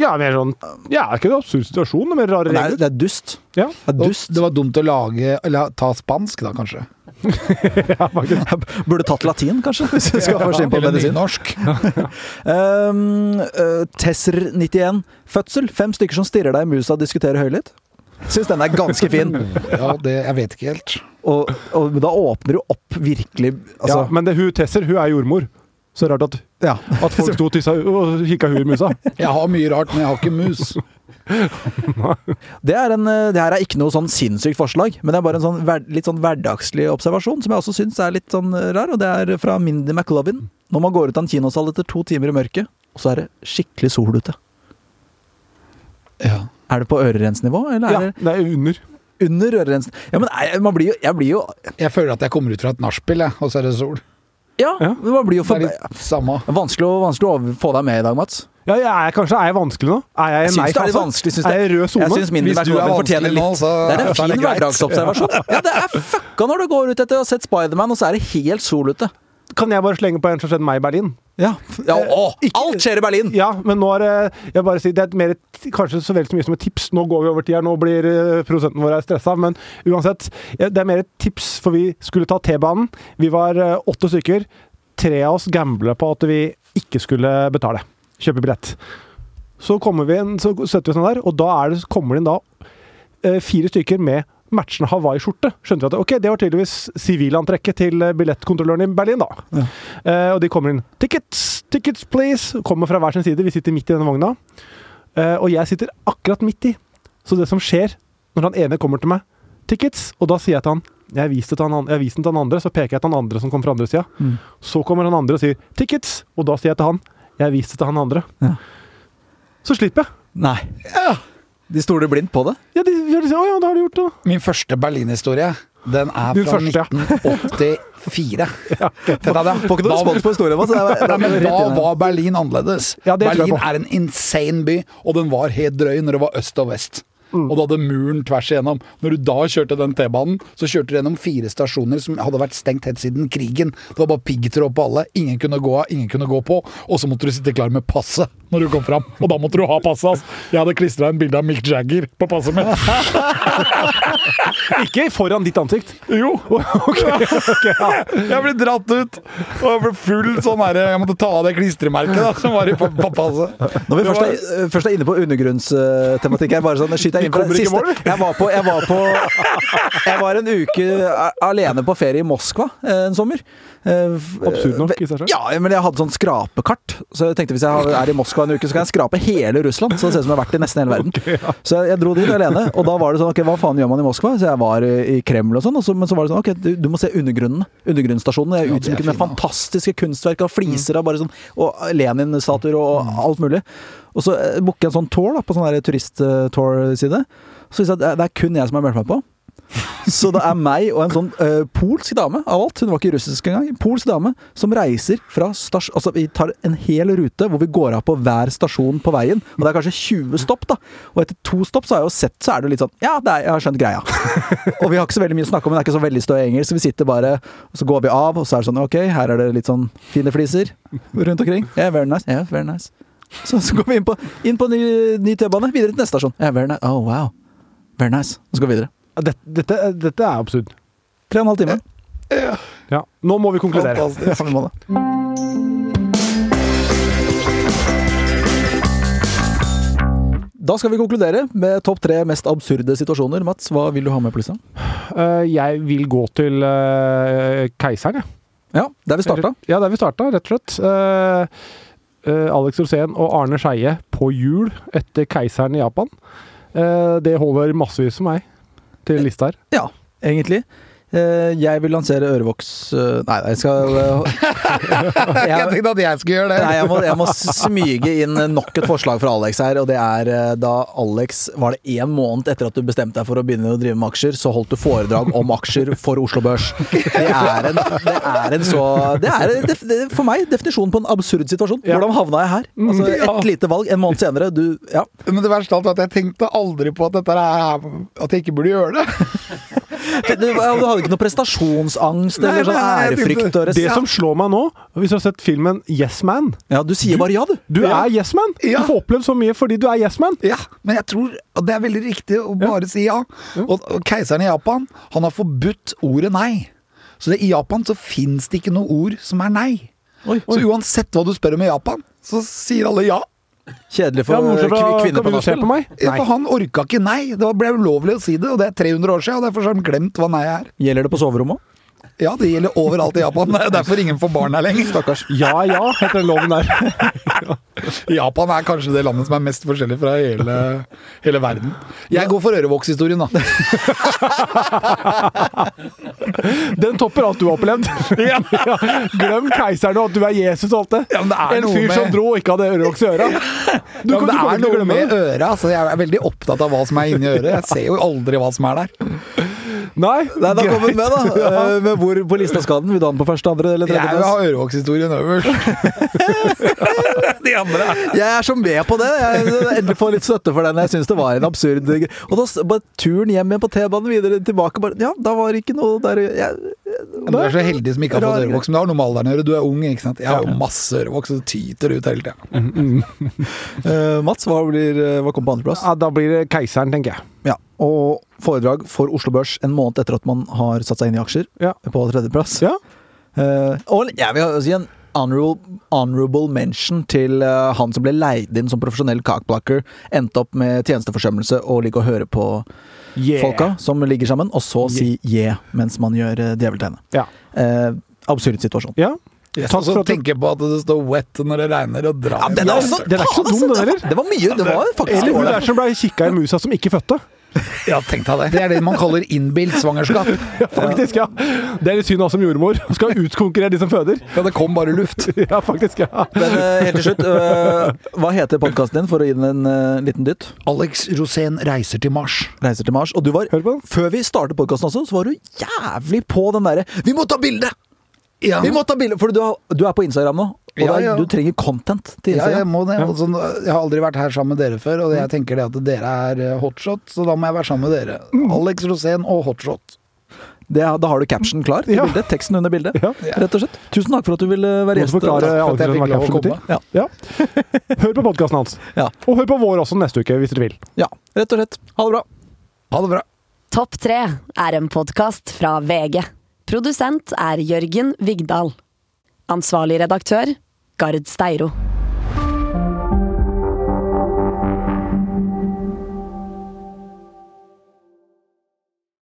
D: Ja, mer sånn Ja, er ikke det en absurd situasjon? Med rare
C: Men Det er,
D: regler?
C: det er dust.
D: Ja,
C: Det er
F: Og
C: dust.
F: Det var dumt å lage Eller ta spansk, da, kanskje.
D: ja, faktisk.
C: Burde tatt latin, kanskje, hvis du skal først inn på
F: Eller
C: medisin.
F: nynorsk.
C: Um, eh, Tesser91. Fødsel. Fem stykker som stirrer deg i musa og diskuterer høylytt. Syns den er ganske fin.
F: Ja, det Jeg vet ikke helt.
C: Og, og da åpner du opp virkelig
D: ja,
C: altså,
D: men det, hun Tesser, hun er jordmor. Så rart at,
C: ja.
D: at folk sto og tissa og kikka hun i musa.
F: Jeg har mye rart, men jeg har ikke mus.
C: Det, er en, eh, det her er ikke noe sånn sinnssykt forslag, men det er bare en sånn, hver- litt sånn hverdagslig observasjon som jeg også syns er litt sånn eh, rar, og det er fra Mindy McLovin. Når man går ut av en kinosal etter to timer i mørket, og så er det skikkelig sol ute.
F: Ja.
C: Er det på ørerensnivå, eller
D: Ja,
C: er
D: det er under.
C: det under ørerensnivå? Ja, men nei, man blir jo, jeg blir jo
F: Jeg føler at jeg kommer ut fra et nachspiel, jeg, og så er det sol.
C: Ja,
D: Ja.
C: men man blir jo
F: Det
C: for...
F: er litt samme.
C: Vanskelig å, vanskelig å over- få deg med i dag, Mats.
D: Ja, jeg er, kanskje er jeg vanskelig nå? Er jeg
C: Jeg
D: i en
C: syns det er litt
F: altså,
D: nei-fase?
C: vanskelig. Synes
D: Er jeg i rød
C: Jeg
D: sone?
C: syns mindre
F: Hvis du er
C: McLovin fortjener
F: vanskelig nå,
C: litt.
F: så-
C: det er en
F: så er det
C: fin
F: greit.
C: hverdagsobservasjon. Ja, det er fucka når du går ut etter å ha sett Spiderman, og så er det helt sol ute.
D: Kan jeg bare slenge på en som skjedde meg i Berlin?
C: Ja, ja å, Alt skjer i Berlin!
D: Ja, men nå er det jeg bare sier, Det er et mer, et- kanskje så vel så mye som et tips. Nå går vi over tida, nå blir eh, produsenten vår stressa. Men uansett, ja, det er mer et tips, for vi skulle ta T-banen. Vi var eh, åtte stykker. Tre av oss gambla på at vi ikke skulle betale. Kjøpe billett. Så, kommer vi inn, så setter vi oss ned der, og da er det, så kommer det inn da eh, fire stykker med matchende Hawaii-skjorte. Skjønte vi at ok, det var tydeligvis sivilantrekket til eh, billettkontrolløren i Berlin, da. Eh, og de kommer inn. Tickets, tickets please! Kommer fra hver sin side. Vi sitter midt i denne vogna. Eh, og jeg sitter akkurat midt i. Så det som skjer, når han ene kommer til meg tickets, og da sier jeg til han jeg har vist det til han an- jeg har vist den til han andre, så peker jeg til han andre som kommer fra andre sida. Så kommer han andre og sier 'tickets', og da sier jeg til han 'jeg har vist det til han andre'.
C: Ja.
D: Så slipper jeg.
C: Nei. De stoler blindt på det.
D: Ja, de, de sier 'å ja, da har du gjort det', da.
F: Min første Berlin-historie, den er
D: Din
F: fra
D: første, ja.
F: 1984. Tenk deg det.
C: Får ikke noe
F: Da-
C: respons på historien vår. så det er-
F: Nei, men
C: det er
F: da
C: rett inn her.
F: var Berlin annerledes.
D: Ja, det tror jeg
F: Berlin
D: på.
F: er en insane by, og den var helt drøy når det var øst og vest. Og du hadde muren tvers igjennom. Når du da kjørte den T-banen, så kjørte du gjennom fire stasjoner som hadde vært stengt helt siden krigen. Det var bare piggtråd på alle. Ingen kunne gå av, ingen kunne gå på. Og så måtte du sitte klar med passet når du kom fram. Og da måtte du ha passet hans. Jeg hadde klistra en bilde av Mick Jagger på passet mitt.
D: Ikke foran ditt ansikt.
F: Jo! Jeg ble dratt ut, og jeg ble full sånn her Jeg måtte ta av det klistremerket da, som var i pa- pa- passet.
C: Når vi
F: Det
C: først
F: var-
C: er, først er inne på undergrunnstematikk her, bare sånn skyter jeg inn på
D: kommer
C: det
D: ikke i
C: siste.
D: mål.
C: Jeg var, på, jeg, var på, jeg var en uke a- alene på ferie i Moskva eh, en sommer. Eh, f-
D: Absurd nok i seg selv.
C: Ja, men jeg hadde sånn skrapekart. Så jeg tenkte hvis jeg har- er i Moskva en uke, så kan jeg skrape hele Russland. Så det ser ut som jeg har vært i nesten hele verden. Så jeg dro dit alene, og da var det sånn Ok, hva faen gjør man i Moskva? Så jeg var eh, i Kreml og sånn, og så, men så var det sånn Ok, du, du må se undergrunnen. Undergrunnsstasjonene. Jeg er
F: Ja, de er
C: utsmykket med
F: fine, da.
C: fantastiske kunstverk av fliser
D: Mm.
C: av bare sånn, og Lenin-statuer og alt mulig. Og så eh, booker jeg en sånn tour da, på sånn her turist-tour-side. Så viser det seg at det er- det er kun jeg som har meldt meg på. Så det er meg og en sånn eh, polsk dame av alt, hun var ikke russisk engang, polsk dame, som reiser fra stasjon Altså, vi tar en hel rute hvor vi går av på hver stasjon på veien, og det er kanskje 20 stopp, da. Og etter to stopp så har jeg jo sett, så er det jo litt sånn Ja, det er, jeg har skjønt greia. og vi har ikke så veldig mye å snakke om, det er ikke så veldig støy engelsk, så vi sitter bare og så går vi av, og så er det sånn Ok, her er det litt sånn fine fliser rundt omkring. Yeah, very nice. Yeah, very nice. Så, så går vi inn på, inn på ny, ny T-bane, videre til neste stasjon. Yeah, very nice. Oh, wow. Very nice. Og så går vi videre.
D: Dette, dette, dette er absurd.
C: Tre og en halv time.
D: Ja. Nå må vi konkludere.
C: Ja, vi må det. Da skal vi konkludere med topp tre mest absurde situasjoner. Mats, hva vil du ha med på lista?
D: Eh, jeg vil gå til eh, keiseren, jeg.
C: Ja, der vi starta.
D: Ja, der vi starta, rett og slett. Eh, eh, Alex Rosén og Arne Skeie på hjul etter keiseren i Japan. Eh, det holder massevis for meg til lista her.
C: Ja, egentlig. Eh, Jeg vil lansere ørevoks eh, Nei, jeg skal eh,
F: Jeg
C: jeg,
F: tenkte at jeg skulle gjøre det.
C: Nei, jeg må, jeg må smyge inn nok et forslag fra Alex her, og det er eh, da Alex Var det én måned etter at du bestemte deg for å begynne å drive med aksjer, så holdt du foredrag om aksjer for Oslo Børs. Det er en, det er en så Det er det, det, for meg definisjonen på en absurd situasjon.
D: Ja. Mm.
C: Hvordan havna jeg her? Altså,
D: Ja.
C: ett lite valg, en måned senere, du Ja.
F: Men det verste av alt var at jeg tenkte aldri på at, dette er, at jeg ikke burde gjøre det.
C: Du, du hadde ikke noe prestasjonsangst
F: Nei,
C: eller sånn
F: nei, nei, jeg tenkte-
C: ærefrykt og
D: Det
C: res-
D: som slår meg nå, hvis du har sett filmen Yes Man
C: Ja, du sier bare ja, du.
D: Du
F: Ja.
D: er Yes Man!
F: Ja.
D: Du får opplevd så mye fordi du er Yes Man!
F: Ja, Men jeg tror at det er veldig riktig å bare si ja. Og, og keiseren i Japan, han har forbudt ordet nei. Så det, i Japan så fins det ikke noe ord som er nei.
C: Oi,
F: Så uansett hva du spør om i Japan, så sier alle ja.
C: Kjedelig
D: Ja,
C: for
D: men bortsett fra
C: kvi- kvinner på
D: Kan du se
C: nachspiel.
D: på meg?
F: ja for han orka ikke nei. Det var- ble ulovlig å si det, og det er 300 år siden, og derfor har han glemt hva nei er.
C: Gjelder det på soverommet òg?
F: Ja, det gjelder overalt i Japan. Det er derfor ingen får barn her lenger. Stakkars.
D: Ja ja, heter den loven der.
F: Japan er kanskje det landet som er mest forskjellig fra hele, hele verden. Jeg går for ørevokshistorien, da.
D: Den topper alt du har opplevd. ja. Glem keiseren og at du er Jesus og alt det.
F: Ja, men det er
D: en
F: noe
D: fyr
F: med-
D: som dro og ikke hadde ørevoks i øra. Du, kan- du
F: Ja, men det
D: kommer til
F: er
D: å
F: noe
D: glemme
F: med
D: det.
F: øret. Altså, jeg er veldig opptatt av hva som er inni øret. Jeg ser jo aldri hva som er der.
D: Nei,
C: Nei, da kom den
D: greit.
C: med, da. Eh, Men hvor på lista skal den? Vil du ha den på første, andre eller
F: Jeg
C: tredje
F: vil ha
C: plass?
F: ørevokshistorien øverst. De andre er
C: Jeg er så med på det. Jeg endelig får litt støtte for den. Jeg syns det var en absurd gre- Og da s- bare turen hjem igjen på T-banen videre tilbake bare, Ja, da var det ikke noe der jeg,
F: Du er så heldig som ikke har fått
C: Rar-
F: ørevoks, men det har noe med alderen å gjøre. Du er ung, ikke sant. Jeg har jo masse ørevoks, og det tyter ut hele tida.
C: Eh, Mats, hva, blir, eh, hva kom på andreplass?
D: Ja, da blir det keiseren, tenker jeg.
C: Ja. Og foredrag for Oslo Børs en måned etter at man har satt seg inn i aksjer.
D: Ja.
C: På tredjeplass.
D: Ja.
C: Eh, og jeg vil si en honorable, honorable mention til eh, han som ble leid inn som profesjonell kakeblacker, endte opp med tjenesteforsømmelse og ligge og høre på
D: Yeah.
C: folka som ligger sammen, og så si yeah mens man gjør eh, djeveltegnet.
D: Ja.
C: Eh, absurd situasjon.
D: ja.
F: Og så tenker jeg på at det står 'wet' når det regner, og drar
C: Den er
D: er
C: altså,
D: også- den er ikke så dum, den heller.
C: Det var mye. Det var faktisk
D: Eller hun
C: ålreit.
D: der som ble kikka i musa som ikke fødte.
F: Ja, tenk deg det. Det er det man kaller innbilt svangerskap.
D: Faktisk, ja. Det er litt synd også som jordmor. Hun skal utkonkurrere de som føder.
F: Ja, det kom bare luft.
D: Ja, faktisk, ja.
C: Men eh, helt til slutt, eh, hva heter podkasten din, for å gi den en eh, liten dytt?
F: Alex Rosén reiser til Mars.
C: Reiser til Mars. Og du var,
D: Hør på den.
C: før vi startet podkasten også, så var du jævlig på den derre Vi må ta bilde!
F: Ja.
C: Vi må ta bilde! For du, har- du er på Instagram nå, og
F: Ja,
C: det er-
F: ja.
C: du trenger content til
F: Ja, jeg
C: Instagram.
F: må det. Altså, jeg har aldri vært her sammen med dere før, og jeg tenker det at dere er eh, hotshot, så da må jeg være sammen med dere. Alex Rosén og hotshot.
C: Det, da har du caption klar. til
D: Ja.
C: Bildet, teksten under bildet.
D: Ja.
C: Rett og slett. Tusen takk for at du ville være
D: Noen
C: gjest.
D: som forklarer
F: Takk for at jeg
D: Alfred
F: fikk
D: hva
F: lov å
D: caption betyr.
F: komme.
C: Ja.
D: Ja. Hør på podkasten hans.
C: Ja.
D: Og hør på vår også neste uke, hvis dere vil.
C: ja, rett og slett. Ha det bra.
F: Ha det bra.
A: Topp tre er en podkast fra VG. Produsent er Jørgen Vigdal. Ansvarlig redaktør Gard Steiro.